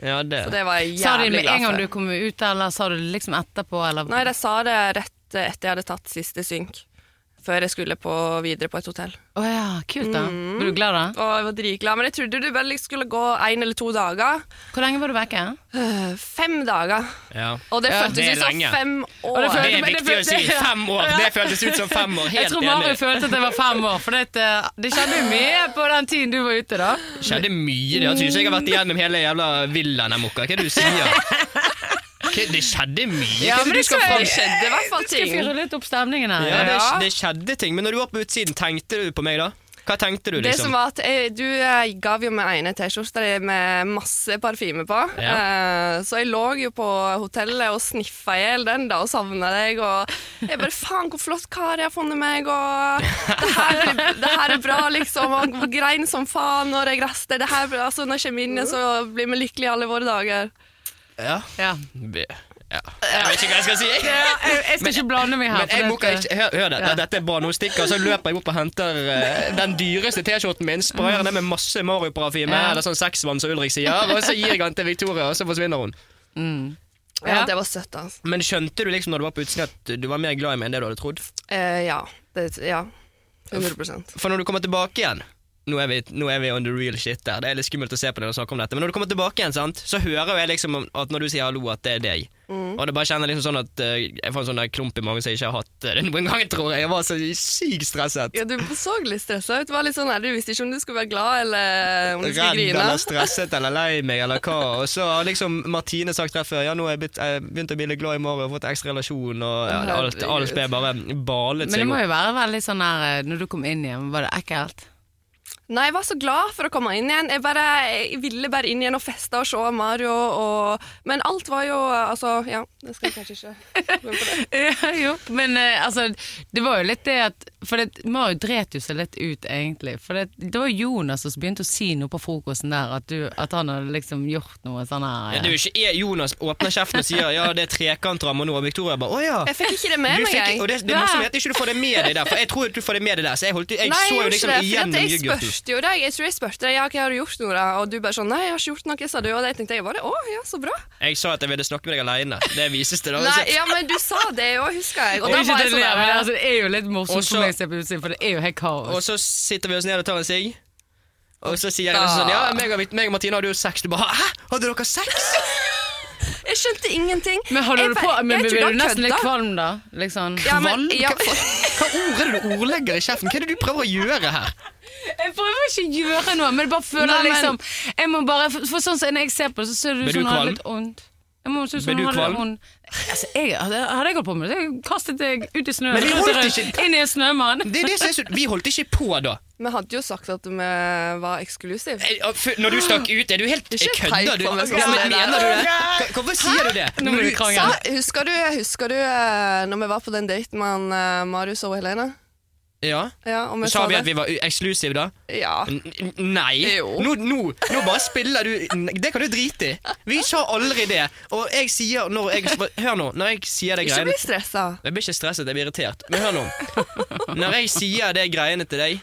Speaker 3: Ja, det.
Speaker 4: Og det var jeg
Speaker 2: Sa de det
Speaker 4: jævlig
Speaker 2: med en
Speaker 4: glad
Speaker 2: gang du
Speaker 4: for.
Speaker 2: kom ut, eller sa du det liksom etterpå? Eller?
Speaker 4: Nei, de sa det rett eh, etter jeg hadde tatt siste synk, før jeg skulle på, videre på et hotell.
Speaker 2: Å ja, kult da. Ble du glad da?
Speaker 4: Og jeg var dritglad, men jeg trodde det vel skulle gå en eller to dager.
Speaker 2: Hvor lenge var du vekke?
Speaker 4: Eh, Fem dager.
Speaker 3: ja.
Speaker 4: Og det
Speaker 2: Ja,
Speaker 4: føltes
Speaker 3: det er
Speaker 4: ut som
Speaker 3: lenge.
Speaker 4: fem
Speaker 2: det
Speaker 4: år.
Speaker 3: Det
Speaker 2: føltes-
Speaker 3: er
Speaker 2: men det
Speaker 3: viktig å si.
Speaker 2: føltes-
Speaker 3: Fem år! Det føltes ut som fem år.
Speaker 2: Jeg
Speaker 3: Helt
Speaker 2: tror Mari
Speaker 3: enig.
Speaker 2: følte at jeg var fem år, for det, eh, det skjedde jo mye på den tiden du var ute, da.
Speaker 3: Skjedde mye. Det. Jeg synes jeg har vært igjennom hele jævla villaen her, Mokka. Hva er det du sier? Hva, det skjedde mye. Hva
Speaker 2: men
Speaker 3: er
Speaker 2: det
Speaker 3: det du skal
Speaker 2: skal-
Speaker 3: fram
Speaker 4: skjedde i hvert fall
Speaker 2: Skal
Speaker 4: ting.
Speaker 2: fyre litt opp stemningen her.
Speaker 3: Ja, det,
Speaker 4: Ja.
Speaker 3: det skjedde ting. Men når du var på utsiden, tenkte du på meg da? Hva tenkte du,
Speaker 4: Det
Speaker 3: liksom?
Speaker 4: som var at jeg, Du eh, gav jo meg ene T-skjorte med masse parfyme på. Eh, så jeg lå jo på hotellet og sniffa i hjel den da og savna deg. Og jeg bare Faen, hvor flott kar jeg har funnet meg, og det her, blir- det her er bra, liksom. Og grein som faen når jeg raster. Det her, blir- altså, når jeg kommer inn igjen, så blir vi lykkelige alle våre dager.
Speaker 3: Ja.
Speaker 2: Ja.
Speaker 3: Be- ja. Jeg vet ikke hva jeg skal si.
Speaker 2: Ja, jeg, jeg skal ikke blande meg her.
Speaker 3: Men jeg
Speaker 2: for
Speaker 3: må
Speaker 2: det- eh,
Speaker 3: ikke, hør, hør det,
Speaker 2: Ja.
Speaker 3: dette er bra. Nå stikker så løper jeg opp og henter eh, den dyreste T-skjorten min, sprayer den med masse Mario-parfyme,
Speaker 2: Ja.
Speaker 3: eller sånn sexvann som Ulrik sier, og så gir jeg den til Victoria, og så forsvinner hun.
Speaker 4: Ja, det var søtt, altså.
Speaker 3: Men skjønte du liksom når du var på utsiden at du var mer glad i meg enn det du hadde trodd?
Speaker 4: Eh, ja. Det, ja. 100
Speaker 3: For når du kommer tilbake igjen nå er, vi, nå er vi on the real shit der. Det er litt skummelt å se på det og snakke om dette. Men når du kommer tilbake igjen, sant, så hører jo jeg liksom at når du sier hallo, at det er deg. Og det bare kjenner liksom sånn at eh, jeg får en sånn der klump i magen som jeg ikke har hatt eh, det noen gang, tror jeg. Jeg var så sykt stresset.
Speaker 4: Ja, du så litt stressa ut. Det var litt sånn, her, Du visste ikke om du skulle være glad eller om du skulle
Speaker 3: Redd
Speaker 4: grine.
Speaker 3: eller stresset eller lei meg eller hva. Og så har liksom Martine sagt rett før ja, nå har jeg, blitt, jeg begynt å bli litt glad i Mario og fått ekstra relasjon, og ja, det- alt, alt ble bare balet
Speaker 2: Men det
Speaker 3: seg
Speaker 2: må
Speaker 3: opp.
Speaker 2: jo være veldig sånn her eh, Når du kom inn igjen, var det ekkelt?
Speaker 4: Nei, jeg var så glad for å komme inn igjen. Jeg, bare, jeg ville bare inn igjen og feste og se Mario og Men alt var jo Altså, ja. Det skal jeg kanskje ikke gå inn på det.
Speaker 2: Ja, jo, men eh, altså, det var jo litt det at For det, Mario dret jo seg litt ut, egentlig. For det, det var Jonas som begynte å si noe på frokosten der, at, du, at han hadde liksom gjort noe sånn her.
Speaker 3: Det er jo ikke jeg, Jonas åpner kjeften og sier ja, det er trekantramme nå, og Victoria bare å ja.
Speaker 4: Jeg fikk ikke det
Speaker 3: Du
Speaker 4: med meg,
Speaker 3: fikk, og
Speaker 4: jeg.
Speaker 3: det, det er masse med at ikke du får det med deg der, for jeg tror at du får det med deg der. Så jeg, holdt, jeg
Speaker 4: Nei,
Speaker 3: så jo
Speaker 4: gjorde
Speaker 3: liksom
Speaker 4: ikke det, for at
Speaker 3: igjennom
Speaker 4: jeg
Speaker 3: yoghurten.
Speaker 4: spurte jo deg. Jeg tror jeg spurte deg ja, hva har du gjort, Nora, og du bare sånn nei, jeg har ikke gjort noe, sa du, og det tenkte jeg bare å, ja, så bra.
Speaker 3: Jeg sa at jeg ville snakke med deg aleine. Det vises det, da.
Speaker 4: Nei,
Speaker 3: Så-
Speaker 4: ja, men du sa det jo, husker jeg. Og
Speaker 2: Det
Speaker 4: da
Speaker 2: er, ikke
Speaker 4: var jeg
Speaker 2: det,
Speaker 4: sånn
Speaker 2: der, men,
Speaker 4: der,
Speaker 2: altså, det er jo litt morsomt
Speaker 3: Også-
Speaker 2: for meg å se på utsiden, for det er jo helt kaos.
Speaker 3: Og så sitter vi oss ned og tar en sigg. Og så sier jeg liksom sånn Ja, meg og, Vikt- meg og Martine hadde jo sex. Du bare Hæ? Hadde dere sex?
Speaker 4: Jeg skjønte ingenting.
Speaker 2: men holder
Speaker 4: Jeg
Speaker 2: du på
Speaker 4: bare-
Speaker 2: Men
Speaker 4: jeg
Speaker 2: blir
Speaker 4: tror
Speaker 2: du
Speaker 4: da
Speaker 2: nesten litt
Speaker 4: kødda.
Speaker 2: kvalm, da? Liksom.
Speaker 4: Ja, men,
Speaker 3: Kvalm?
Speaker 4: ja,
Speaker 3: Hva ord er det du ordlegger i kjeften? Hva er det du prøver å gjøre her?
Speaker 2: Jeg prøver ikke å gjøre noe, men jeg bare føler
Speaker 4: Nei, men-
Speaker 2: liksom Jeg må bare, for, for sånn som Når jeg ser på det, så ser det
Speaker 3: Blir
Speaker 2: ut
Speaker 3: du
Speaker 2: som hun har
Speaker 3: kvalm?
Speaker 2: litt vondt. Jeg må se ut
Speaker 3: Blir
Speaker 2: som hun
Speaker 3: du
Speaker 2: har litt
Speaker 3: kvalm?
Speaker 2: vondt. Altså, jeg, hadde, hadde jeg holdt på med det, så hadde jeg kastet deg ut i snøen.
Speaker 3: Men vi holdt
Speaker 2: rundt i-
Speaker 3: ikke-
Speaker 2: Inn i en snømann.
Speaker 3: Det er det som er så Vi holdt ikke på da.
Speaker 4: Vi hadde jo sagt at vi var eksklusive.
Speaker 3: Eh, og før- Når du stakk ut, er du helt
Speaker 4: Det er ikke
Speaker 3: Kødder du?
Speaker 4: peip på meg, skal
Speaker 3: Ja,
Speaker 4: jeg
Speaker 3: men
Speaker 4: si deg.
Speaker 3: Mener du det? Hva- Hvorfor sier du det?
Speaker 2: Nå må
Speaker 3: Når
Speaker 2: vi
Speaker 3: du-
Speaker 2: krangle.
Speaker 4: Sa, husker du, husker du eh, når vi var på den daten med han, eh, Marius og Helene?
Speaker 3: Ja.
Speaker 4: Ja, og vi
Speaker 3: Sa vi at
Speaker 4: det.
Speaker 3: vi var u- eksklusive da?
Speaker 4: Ja.
Speaker 3: N n- nei.
Speaker 4: Jo.
Speaker 3: Nå, nå, nå bare spiller du n- Det kan du drite i. Vi sa aldri det. Og jeg sier når jeg Hør nå. Når jeg sier det
Speaker 4: Ikke
Speaker 3: greiene
Speaker 4: bli stressa.
Speaker 3: Jeg blir ikke stresset, jeg blir irritert. Men hør nå. Når jeg sier det greiene til deg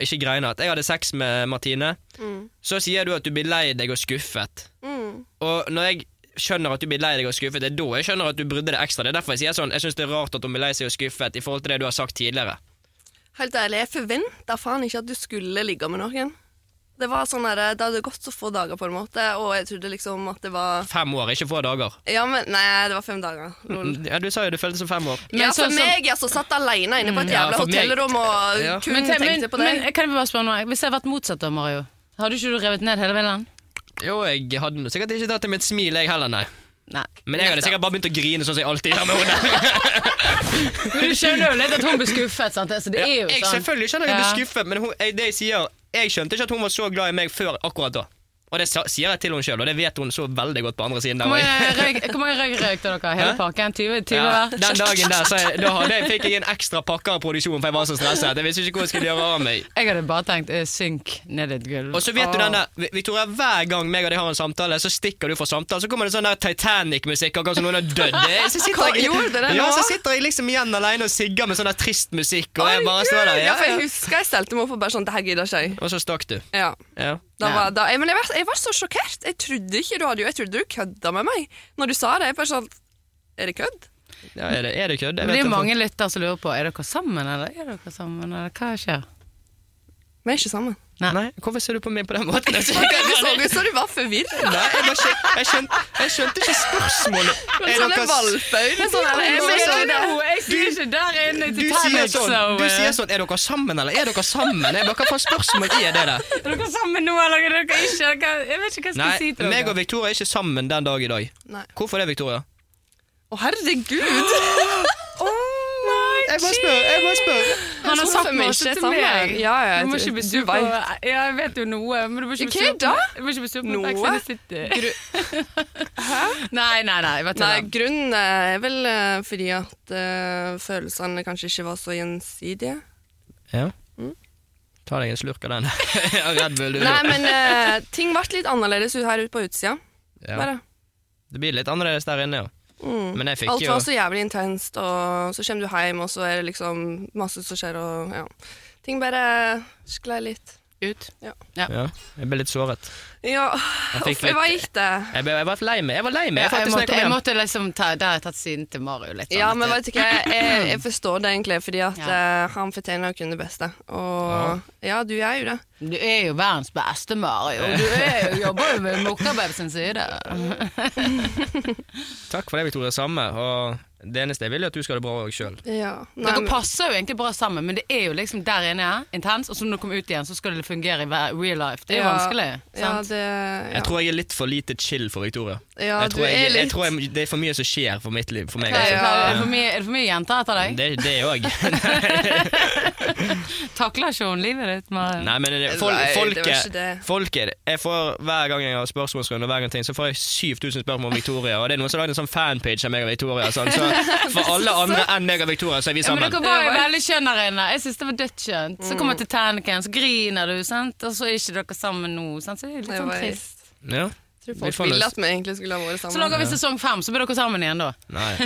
Speaker 3: Ikke greiene, at jeg hadde sex med Martine,
Speaker 4: Mm.
Speaker 3: så sier du at du blir lei deg og skuffet. Og når jeg skjønner at du blir lei deg og skuffet, det er da jeg skjønner at du brydde deg ekstra. Det er derfor jeg sier sånn, jeg syns det er rart at hun blir lei seg og skuffet i forhold til det du har sagt tidligere.
Speaker 4: Helt ærlig, jeg forventa faen ikke at du skulle ligge med noen. Det var sånn der, det hadde gått så få dager, på en måte, og jeg trodde liksom at det var
Speaker 3: Fem år, ikke få dager.
Speaker 4: Ja, men Nei, det var fem dager. Lol.
Speaker 3: Ja, du sa jo det føltes som fem år.
Speaker 2: Men
Speaker 4: Ja,
Speaker 2: sånn
Speaker 4: for
Speaker 2: som-
Speaker 4: meg, altså, satt alene inne på et
Speaker 3: Mm. Ja,
Speaker 4: jævla
Speaker 3: for meg-
Speaker 4: hotellrom og
Speaker 3: Ja.
Speaker 4: kun
Speaker 2: Men, te- men,
Speaker 4: tenkte på
Speaker 2: men
Speaker 4: deg.
Speaker 2: kan jeg bare spørre noe? Hvis jeg hadde vært motsatt av Mario, hadde ikke du revet ned hele villaen?
Speaker 3: Jo, jeg hadde nå sikkert ikke tatt det med et smil, jeg heller, nei.
Speaker 2: Nei.
Speaker 3: Men jeg hadde sikkert bare begynt å grine sånn som jeg alltid gjør med henne.
Speaker 2: Men du skjønner jo litt at hun blir skuffet, sant? Altså, det er jo
Speaker 3: Jeg
Speaker 2: sånn.
Speaker 3: selvfølgelig skjønner jeg blir
Speaker 2: Ja.
Speaker 3: skuffet, men hun, jeg, det jeg sier Jeg skjønte ikke at hun var så glad i meg før akkurat da. Og det sa, sier jeg til henne sjøl, og det vet hun så veldig godt på andre siden. Der.
Speaker 2: Hvor
Speaker 3: også.
Speaker 2: mange røyk- hvor mange røyk røykte dere? Hele
Speaker 3: Hæ?
Speaker 2: pakken? 20 20
Speaker 3: Ja,
Speaker 2: hver?
Speaker 3: den dagen der så jeg, da, hadde jeg- fikk jeg en ekstra pakke av produksjonen, for jeg var så stresset. Jeg visste ikke hvor jeg skulle gjøre av meg.
Speaker 2: Jeg hadde bare tenkt eh, synk ned i et gulv.
Speaker 3: Og så vet du den der, Vi- Victoria, Hver gang meg og deg har en samtale, så stikker du fra samtalen. Så kommer det sånn der Titanic-musikk, akkurat som noen har dødd. Det- Så sitter jeg,
Speaker 4: Hva gjorde dere nå?
Speaker 3: ja, så sitter jeg liksom igjen alene og sigger med sånn der trist musikk. Og jeg bare står der.
Speaker 4: Herregud! Ja, for
Speaker 3: Ja,
Speaker 4: jeg
Speaker 3: ja.
Speaker 4: husker jeg stelte meg opp og bare sånn Det her gidder ikke jeg.
Speaker 3: Og så stakk du.
Speaker 4: Ja.
Speaker 3: Ja.
Speaker 4: Da
Speaker 2: Ja.
Speaker 4: var, da, jeg, men jeg var, jeg var så sjokkert. Jeg trodde ikke du hadde Jeg trodde du kødda med meg når du sa det. Jeg bare sånn Er det kødd?
Speaker 3: ja er det, er det kødd?
Speaker 2: det
Speaker 3: Jeg vet
Speaker 2: er
Speaker 3: om folk-
Speaker 2: mange lyttere som lurer på Er dere sammen, eller er dere sammen, eller hva skjer?
Speaker 4: Vi er ikke sammen.
Speaker 3: Nei, hvorfor ser du på meg på den måten? Jeg,
Speaker 4: Ok, Det så ut som du var forvirra.
Speaker 3: sånn. Nei, jeg, bare skjøn, jeg, skjønte, jeg skjønte ikke spørsmålet. Er
Speaker 4: Sånne
Speaker 3: dere s-
Speaker 4: valpøyne. Sånn, eller, jeg bare sånn, det-
Speaker 2: jeg sier ikke der inne
Speaker 3: du sier, sånn, du
Speaker 2: eh,
Speaker 3: sier sånn Er dere sammen, eller er dere sammen? Jeg bare, Hva faen spørsmål er det der?
Speaker 2: Er dere sammen nå, eller er dere ikke? Jeg vet ikke hva jeg
Speaker 3: Nei,
Speaker 2: skal si til
Speaker 3: meg og
Speaker 2: dere.
Speaker 3: Victoria er ikke sammen den dag i dag.
Speaker 4: Nei.
Speaker 3: Hvorfor det, Victoria?
Speaker 4: Å, herregud!
Speaker 3: Jeg bare spør. jeg bare spør
Speaker 2: Han har
Speaker 4: tror
Speaker 2: sagt
Speaker 4: for meg
Speaker 2: masse
Speaker 4: ikke
Speaker 2: til
Speaker 4: sammen.
Speaker 2: meg.
Speaker 4: Ja, ja, jeg
Speaker 2: du må
Speaker 4: tror-
Speaker 2: ikke bli
Speaker 4: du
Speaker 2: sur på Ja, jeg vet jo noe, men du må ikke bli
Speaker 4: Hva
Speaker 2: sur på
Speaker 4: da?
Speaker 2: Du må ikke bli sur på
Speaker 4: Noe?
Speaker 2: Exit City. Nei, nei, nei. Vet du
Speaker 4: Nei,
Speaker 2: hva.
Speaker 4: grunnen er vel eh, fordi at eh, følelsene kanskje ikke var så gjensidige.
Speaker 3: ja. Ta deg en slurk av den. Red Bull, du.
Speaker 4: Nei, men eh, ting ble litt annerledes ut her ute på utsida.
Speaker 3: Ja.
Speaker 4: Bare.
Speaker 3: Det blir litt annerledes der inne, ja.
Speaker 4: Mm.
Speaker 3: Men jeg fikk
Speaker 4: Alt
Speaker 3: jo
Speaker 4: var så jævlig intenst, og så kommer du hjem, og så er det liksom masse som skjer, og ja. Ting bare sklei litt.
Speaker 2: Ut.
Speaker 3: ja, Jeg ble litt såret.
Speaker 4: Ja,
Speaker 3: Jeg fikk
Speaker 4: uff, jeg
Speaker 3: litt-
Speaker 4: var gikk det.
Speaker 3: Jeg, ble, jeg var lei meg. Jeg var lei meg.
Speaker 2: Ja, jeg,
Speaker 3: faktisk, når
Speaker 2: måtte,
Speaker 3: kom
Speaker 2: jeg
Speaker 3: hjem.
Speaker 2: måtte liksom ta, Der har jeg tatt siden til Mario litt.
Speaker 4: Ja,
Speaker 2: sånn
Speaker 4: men
Speaker 2: at
Speaker 4: vet du hva, jeg, jeg, jeg forstår det egentlig, fordi at
Speaker 2: Ja.
Speaker 4: eh, han fortjener å kunne det beste. Og ja, du er jo det.
Speaker 2: Du er jo verdens beste Mario. Du er jo, jobber
Speaker 4: Mm.
Speaker 2: jo med Mokkabeb sin side.
Speaker 3: Takk for det, Victoria. Samme. Og Det eneste jeg vil, er at du skal ha det bra òg sjøl.
Speaker 4: Ja. Nei,
Speaker 2: Dere
Speaker 4: men-
Speaker 2: passer jo egentlig bra sammen, men det er jo liksom der inne intens, og så når du kommer ut igjen, så skal det fungere i hver- real life. Det er jo
Speaker 4: ja,
Speaker 2: vanskelig.
Speaker 4: Ja,
Speaker 2: Sant?
Speaker 4: det, ja.
Speaker 3: Jeg tror jeg er litt for lite chill for Victoria.
Speaker 4: Ja,
Speaker 3: jeg
Speaker 4: du
Speaker 3: tror,
Speaker 4: er
Speaker 3: jeg, jeg
Speaker 4: litt-
Speaker 3: tror jeg, det er for mye som skjer for mitt liv. For meg.
Speaker 2: Hva
Speaker 3: altså.
Speaker 2: er-
Speaker 4: Ja.
Speaker 2: hva Er, det for mye, er det for mye jenter etter deg?
Speaker 3: Det, det er òg.
Speaker 2: Takler ikke hun livet ditt? Med,
Speaker 3: Nei, men det, fol,
Speaker 4: Nei, det var ikke
Speaker 3: folket,
Speaker 4: det.
Speaker 3: folket jeg får, Hver gang jeg har spørsmålsrunde, og hver gang ting, så får jeg 7000 spørsmål om Victoria. Og det er noen som har lagd en sånn fanpage av meg og Victoria. Sånn. Så for alle andre enn meg og Victoria, så er vi
Speaker 2: Ja, men dere
Speaker 3: sammen.
Speaker 2: var jo veldig skjønne der inne. Jeg syns det var dødskjønt. Så
Speaker 4: Mm.
Speaker 2: kommer jeg til Tanniken, så griner du, sant? og så er ikke dere sammen nå. Sant? Så det er litt
Speaker 4: Det
Speaker 2: sånn
Speaker 4: var-
Speaker 2: trist.
Speaker 3: Ja.
Speaker 4: Jeg tror
Speaker 3: Vi
Speaker 4: folk
Speaker 3: får
Speaker 4: ville
Speaker 3: løs-
Speaker 4: at vi egentlig skulle ha vært
Speaker 2: Så
Speaker 4: sammen.
Speaker 2: lager vi sesong fem, så blir dere sammen igjen da.
Speaker 3: Nei.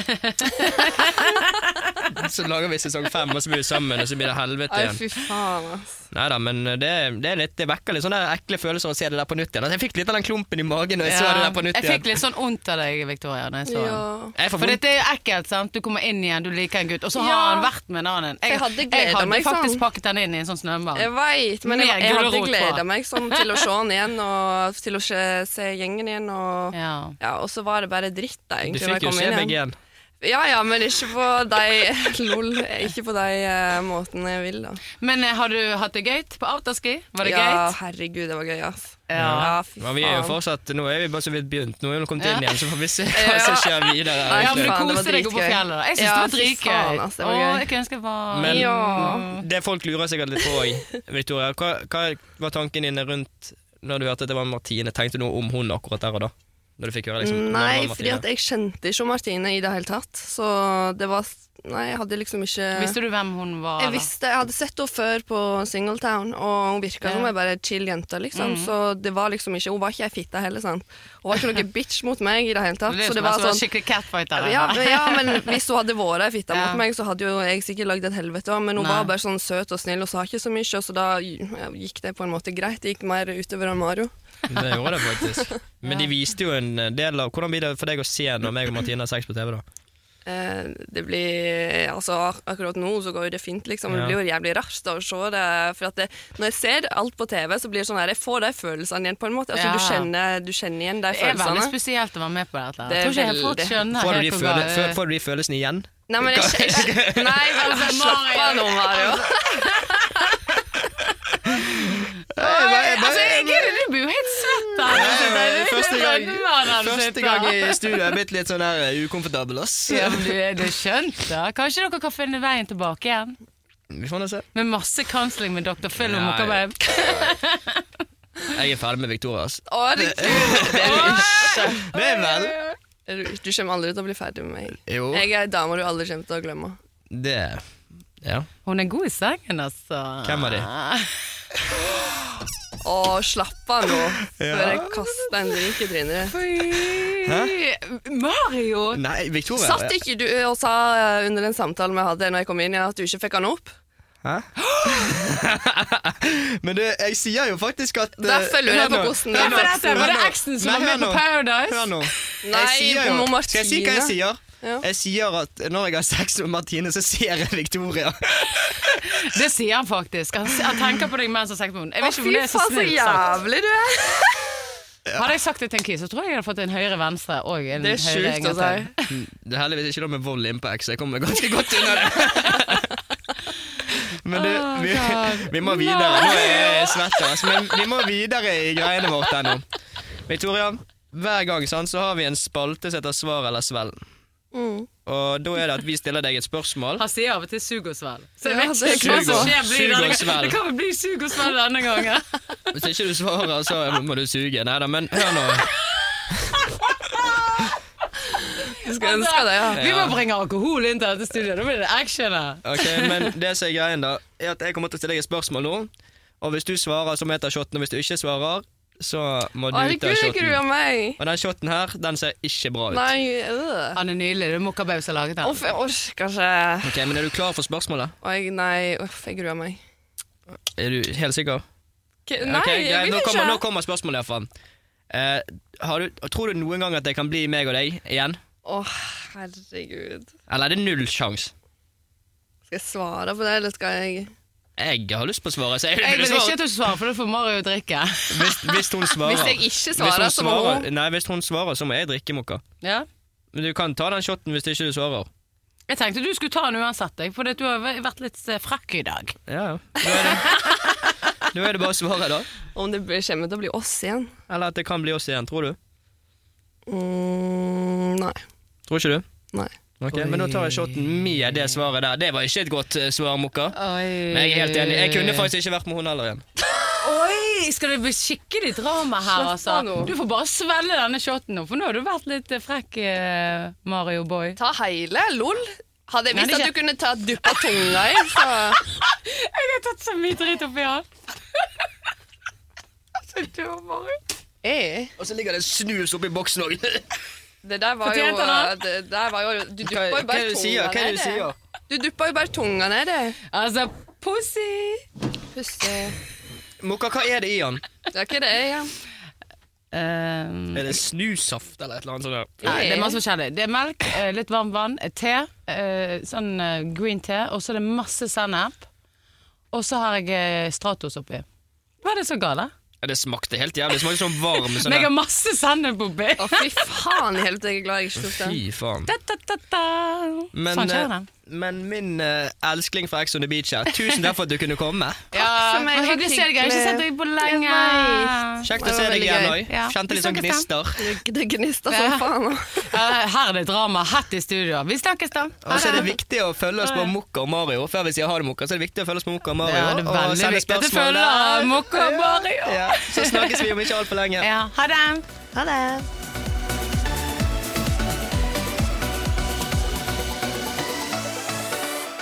Speaker 3: Så lager vi sesong fem, og så blir vi sammen, og så blir det helvete
Speaker 4: Ai,
Speaker 3: igjen.
Speaker 4: fy faen, ass.
Speaker 3: Nei da, men eh, det, det, er litt, det vekker litt sånne ekle følelser å se det der på nytt igjen. Altså, jeg fikk litt av den klumpen i magen når jeg så det der på nytt
Speaker 2: jeg fikk
Speaker 3: igjen.
Speaker 2: litt sånn vondt av deg, Victoria. Når jeg så den.
Speaker 4: Ja.
Speaker 3: Jeg får
Speaker 2: For
Speaker 3: vondt.
Speaker 2: dette er jo ekkelt, sant? Du kommer inn igjen, du liker en gutt, og så har
Speaker 4: Ja.
Speaker 2: han vært med en annen.
Speaker 4: Jeg hadde gledet
Speaker 2: jeg hadde
Speaker 4: meg
Speaker 2: faktisk
Speaker 4: sånn.
Speaker 2: pakket han inn i en sånn snømann.
Speaker 4: Jeg veit, men jeg,
Speaker 2: Mer
Speaker 4: jeg hadde
Speaker 2: gulrot på.
Speaker 4: gleda meg sånn til å se han igjen, og til å se, se gjengen igjen, og
Speaker 2: Ja.
Speaker 4: ja, og så var det bare dritt da,
Speaker 3: Du
Speaker 4: egentlig, når
Speaker 3: fikk
Speaker 4: jeg
Speaker 3: jo
Speaker 4: kom
Speaker 3: se
Speaker 4: inn
Speaker 3: meg
Speaker 4: igjen.
Speaker 3: igjen.
Speaker 4: Ja, ja, men ikke på de Lol, ikke på de eh, måtene jeg vil, da.
Speaker 2: Men eh, har du hatt det gøy på afterski? Var det
Speaker 4: ja,
Speaker 2: gøy?
Speaker 4: herregud, det var gøy, ass.
Speaker 2: Ja.
Speaker 4: fy
Speaker 3: Men vi er jo
Speaker 4: faen.
Speaker 3: fortsatt, nå er vi bare så vidt begynt. Nå er vi kommet inn
Speaker 2: Ja.
Speaker 3: igjen, så får vi se hva som skjer videre.
Speaker 4: Nei,
Speaker 2: Ja, men
Speaker 3: egentlig.
Speaker 2: du
Speaker 4: faen, det var
Speaker 2: koste deg oppe på
Speaker 4: dritgøy.
Speaker 2: fjellet. da. Jeg syns
Speaker 4: Ja,
Speaker 2: det var
Speaker 4: fy faen, ass, det
Speaker 2: dritgøy.
Speaker 4: var
Speaker 2: Å,
Speaker 4: gøy.
Speaker 2: jeg kunne ønske jeg var
Speaker 3: Men-
Speaker 4: Ja.
Speaker 3: Det folk lurer sikkert litt på òg, Victoria. Hva, hva var tanken din rundt når du hørte at det var Martine? Tenkte du noe om hun akkurat der og da? Når du fikk høre liksom
Speaker 4: Mm, Nei, fordi at jeg kjente ikke Martine i det hele tatt, så det var Nei, jeg hadde liksom ikke
Speaker 2: Visste du hvem hun var?
Speaker 4: Jeg
Speaker 2: Ah, da?
Speaker 4: visste, jeg hadde sett henne før på Singletown, og hun virka som
Speaker 2: Ja. Mhm.
Speaker 4: ei bare chill jente, liksom. Så det var liksom ikke Hun var ikke ei fitte heller, sant. Hun var ikke noe bitch mot meg i det hele tatt.
Speaker 2: Det er jo
Speaker 4: Så
Speaker 2: som
Speaker 4: det
Speaker 2: en
Speaker 4: var
Speaker 2: sånn
Speaker 4: sånn
Speaker 2: skikkelig catfighter.
Speaker 4: ja,
Speaker 2: eller?
Speaker 4: men- ja, men hvis hun hadde vært ei fitte
Speaker 2: Ja.
Speaker 4: mot meg, så hadde jo jeg sikkert lagd et helvete òg, men hun
Speaker 2: Nei.
Speaker 4: var bare sånn søt og snill og sa ikke så mye, og så da ja, gikk det på en måte greit. Det gikk mer utover enn Mario.
Speaker 3: Det gjorde det faktisk. Men de viste jo en del av Hvordan blir det for deg å se når meg og Martine har sex på TV, da?
Speaker 4: Eh, det blir Altså, ak akkurat nå så går jo det fint, liksom.
Speaker 3: Ja.
Speaker 4: Det blir jo jævlig rart da, å se det. For at det, når jeg ser alt på TV, så blir det sånn her Jeg får de følelsene igjen, på en måte. Altså,
Speaker 2: Ja.
Speaker 4: du, kjenner, du kjenner igjen de
Speaker 2: Det er veldig
Speaker 4: følelsene.
Speaker 2: spesielt å være med på dette.
Speaker 4: Det
Speaker 2: Jeg
Speaker 4: er
Speaker 2: tror ikke jeg folk
Speaker 4: veldig.
Speaker 2: skjønner
Speaker 3: Får du de,
Speaker 2: helt hvor
Speaker 3: føle,
Speaker 2: bra-
Speaker 3: fø- får du de følelsene igjen?
Speaker 4: Nei, men jeg, jeg, jeg Nei, vel,
Speaker 2: Altså,
Speaker 4: slapp av nå, Mario.
Speaker 2: Altså, jeg, jeg, du blir jo helt svett der. Altså, det er-
Speaker 3: Første
Speaker 2: det er
Speaker 3: gang,
Speaker 2: brennvarme der du
Speaker 3: første
Speaker 2: sitter.
Speaker 3: gang i studio er jeg blitt litt sånn her eh, ukomfortabel, ass.
Speaker 2: Ja, men du, er- du er skjønt, da. Kanskje dere kan finne veien tilbake igjen?
Speaker 3: Vi får nå se.
Speaker 2: Med masse counseling med Dr. Phil og
Speaker 3: Nei.
Speaker 2: Mokkababe.
Speaker 3: Jeg er ferdig med Victoria, ass.
Speaker 4: Å, herregud. Det er du ikke.
Speaker 3: Det er vel
Speaker 4: Er Du du kommer aldri til å bli ferdig med meg.
Speaker 3: Jo.
Speaker 4: Jeg er ei dame du aldri kommer til å glemme.
Speaker 3: Det Ja.
Speaker 2: Hun er god i sengen, altså.
Speaker 3: Hvem er de?
Speaker 4: Å, slapp av nå, før jeg kaster en drink i trynet.
Speaker 2: Hæ? Mario!
Speaker 3: Nei, Victoria.
Speaker 4: Satt ikke du og sa eh, under den samtalen vi hadde når jeg kom inn, ja, at du ikke fikk han opp?
Speaker 3: Hæ? Men det, jeg sier jo faktisk at eh,
Speaker 4: Derfor lurer jeg
Speaker 3: hør
Speaker 4: på
Speaker 3: nå.
Speaker 4: hvordan
Speaker 2: Hør nå,
Speaker 4: Derfor
Speaker 2: dette var det
Speaker 3: hør nå.
Speaker 2: eksen som
Speaker 3: Nei,
Speaker 2: var med på
Speaker 3: hør nå.
Speaker 2: Paradise.
Speaker 3: Hør nå.
Speaker 4: Nei,
Speaker 3: Jeg sier jo-
Speaker 4: nå Martine.
Speaker 3: Skal jeg si hva jeg sier?
Speaker 4: Ja.
Speaker 3: Jeg sier at når jeg har sex med Martine, så ser jeg Victoria.
Speaker 2: Det sier han faktisk. Han, han tenker på deg mens han har sex med henne. Jeg vet ikke om det er så
Speaker 4: så
Speaker 2: snilt sagt.
Speaker 4: jævlig du er!
Speaker 2: Hadde jeg sagt det til en kis, så tror jeg jeg hadde fått en høyre-venstre og en
Speaker 4: Det er
Speaker 2: høyre
Speaker 4: sjukt å
Speaker 2: engelsk.
Speaker 4: si.
Speaker 3: Det er heldigvis ikke noe med vold innpå X, jeg kommer ganske godt unna det. Men du,
Speaker 2: Oh,
Speaker 3: vi,
Speaker 2: God.
Speaker 3: vi må videre. Nå er jeg svett, altså. Men vi må videre i greiene vårt ennå. Victoria, hver gang sant, så har vi en spalte som heter Svar eller svelg. Og da er det at vi stiller deg et spørsmål.
Speaker 2: Han sier av og til 'sug og svelg'. Så jeg
Speaker 4: Ja,
Speaker 2: vet
Speaker 4: det er
Speaker 2: ikke hva som
Speaker 3: sug og-
Speaker 2: skjer. blir
Speaker 3: sug og
Speaker 2: denne-
Speaker 3: svelg.
Speaker 2: Det kan vel bli 'sug og svelg' denne gangen.
Speaker 3: Hvis ikke du svarer, så må du suge. Nei da, men hør nå.
Speaker 4: Du skulle ønske det, ja.
Speaker 2: Vi må bringe alkohol inn til dette studioet. Da blir det action her.
Speaker 3: Ok, Men det som er greien, da, er at jeg kommer til å stille deg et spørsmål nå. Og hvis du svarer, så må jeg ta shoten. Og hvis du ikke svarer, så må
Speaker 4: Å,
Speaker 3: du
Speaker 4: Herregud,
Speaker 3: ta
Speaker 4: jeg gruer
Speaker 3: shoten.
Speaker 4: meg.
Speaker 3: Og den shoten her, den ser ikke bra ut.
Speaker 4: Nei,
Speaker 3: Ah,
Speaker 4: øh.
Speaker 2: Han er nydelig. Det er Mokkababe som har laget den.
Speaker 4: Uff, jeg orker ikke.
Speaker 3: Ok, men Er du klar for spørsmålet?
Speaker 4: Oi, nei, uff, jeg gruer meg.
Speaker 3: Er du helt sikker?
Speaker 4: K
Speaker 3: Ok,
Speaker 4: nei,
Speaker 3: greit,
Speaker 4: jeg vil
Speaker 3: nå,
Speaker 4: ikke.
Speaker 3: kommer, nå kommer spørsmålet iallfall. Uh, har du, tror du noen gang at det kan bli meg og deg igjen?
Speaker 4: Å, herregud.
Speaker 3: Eller er det null sjanse?
Speaker 4: Skal jeg svare på det, eller skal jeg
Speaker 3: Jeg har lyst på svaret. Så jeg,
Speaker 2: Jeg
Speaker 3: vil
Speaker 2: vil
Speaker 3: du
Speaker 2: ikke
Speaker 3: svare?
Speaker 2: at du svarer, for da får Mario drikke.
Speaker 3: Hvis, hvis hun svarer.
Speaker 4: Hvis jeg ikke
Speaker 3: Ah. Hvis
Speaker 4: svarer,
Speaker 3: hun
Speaker 4: så må
Speaker 3: svarer-
Speaker 4: hun
Speaker 3: Nei, hvis hun svarer, så må jeg drikke mokka.
Speaker 2: Ja?
Speaker 3: Men du kan ta den shoten hvis ikke du svarer.
Speaker 2: Jeg tenkte du skulle ta den uansett, jeg, for du har vært litt eh, frekk i dag.
Speaker 3: Ja, ja. Da er det, da er det bare å svare, da.
Speaker 4: Om det blir- kommer til å bli oss igjen?
Speaker 3: Eller at det kan bli oss igjen, tror du?
Speaker 4: Mm, nei.
Speaker 3: Tror ikke du?
Speaker 4: Nei.
Speaker 3: Ok, Men da tar jeg shoten med det svaret der. Det var ikke et godt eh, svar, Mokka.
Speaker 2: Oi.
Speaker 3: Men jeg er helt enig. Jeg kunne faktisk ikke vært med hun heller igjen.
Speaker 2: Oi! Skal det bli skikkelig drama her,
Speaker 4: Slapp
Speaker 2: altså?
Speaker 4: av nå.
Speaker 2: Du får bare svelge denne shoten nå, for nå har du vært litt eh, frekk, eh, Mario Boy.
Speaker 4: Ta hele, lol. Hadde jeg
Speaker 2: Nei,
Speaker 4: visst
Speaker 2: det
Speaker 4: at
Speaker 2: er
Speaker 4: du kunne ta dupp av tunga i, så
Speaker 2: Jeg har tatt så mye dritt oppi her. Så dum, Mario.
Speaker 4: Ei.
Speaker 3: Og så ligger det snus oppi boksen òg.
Speaker 4: Det der var jo,
Speaker 2: Fortjente han?
Speaker 4: det der var jo Du duppa
Speaker 3: hva
Speaker 4: jo
Speaker 3: er
Speaker 4: bare
Speaker 3: det du sier? Hva
Speaker 4: tunga
Speaker 3: er det du
Speaker 4: nedi.
Speaker 3: sier?
Speaker 4: Du duppa jo bare tunga nedi.
Speaker 2: Altså, pussy!
Speaker 4: Puste
Speaker 3: Mokka, hva er det i han?
Speaker 4: Det er ikke det, ja.
Speaker 2: Um,
Speaker 3: Er det snussaft eller et eller annet sånt? der?
Speaker 2: Nei, det er masse forskjellig. Det er melk, eh, litt varmt vann, eh, te, eh, sånn eh, green te, og så er det masse sennep. Og så har jeg eh, Stratos oppi. Hva er det så galt?
Speaker 3: Ja, det smakte helt jævlig. Det smakte sånn varm sånn
Speaker 2: Men jeg
Speaker 3: der.
Speaker 2: har masse sennep oppi!
Speaker 4: Å, fy faen i helvete, jeg er glad jeg ikke tok den.
Speaker 3: Fy faen.
Speaker 2: Da, da, da, da.
Speaker 3: Men,
Speaker 2: sånn skjer det.
Speaker 3: eh, men min eh, elskling fra Ex on the Beach her, tusen takk for at du kunne komme.
Speaker 2: Ja,
Speaker 4: for meg,
Speaker 2: men
Speaker 4: det var
Speaker 2: Hyggelig å se deg. Jeg har ikke
Speaker 4: hyggelig.
Speaker 2: sett deg på
Speaker 4: Jeg
Speaker 2: lenge.
Speaker 4: vet.
Speaker 3: Kjekt
Speaker 4: Det
Speaker 3: å
Speaker 4: var
Speaker 3: se deg
Speaker 4: veldig
Speaker 3: igjen
Speaker 4: gøy.
Speaker 3: òg.
Speaker 2: Ja.
Speaker 3: Kjente
Speaker 2: Vi
Speaker 3: litt sånn
Speaker 2: snakkes da.
Speaker 3: gnister.
Speaker 4: Det- Det gnista som
Speaker 2: Ja.
Speaker 4: faen. nå.
Speaker 2: Eh, Her er det drama. Hett i studio. Vi snakkes da.
Speaker 3: Og så er det viktig å følge oss på Mokka og Mario. Før vi sier ha det, Mokka, så er det viktig å følge oss på Mokka og Mario.
Speaker 2: Ja, det er
Speaker 3: og
Speaker 2: veldig viktig
Speaker 3: sende
Speaker 2: at du
Speaker 3: spørsmål
Speaker 2: følger
Speaker 3: der.
Speaker 2: Mokka og
Speaker 3: Ja,
Speaker 2: Mario.
Speaker 3: Ja, så snakkes vi om ikke altfor lenge.
Speaker 2: Ja, ha det.
Speaker 4: Ha det.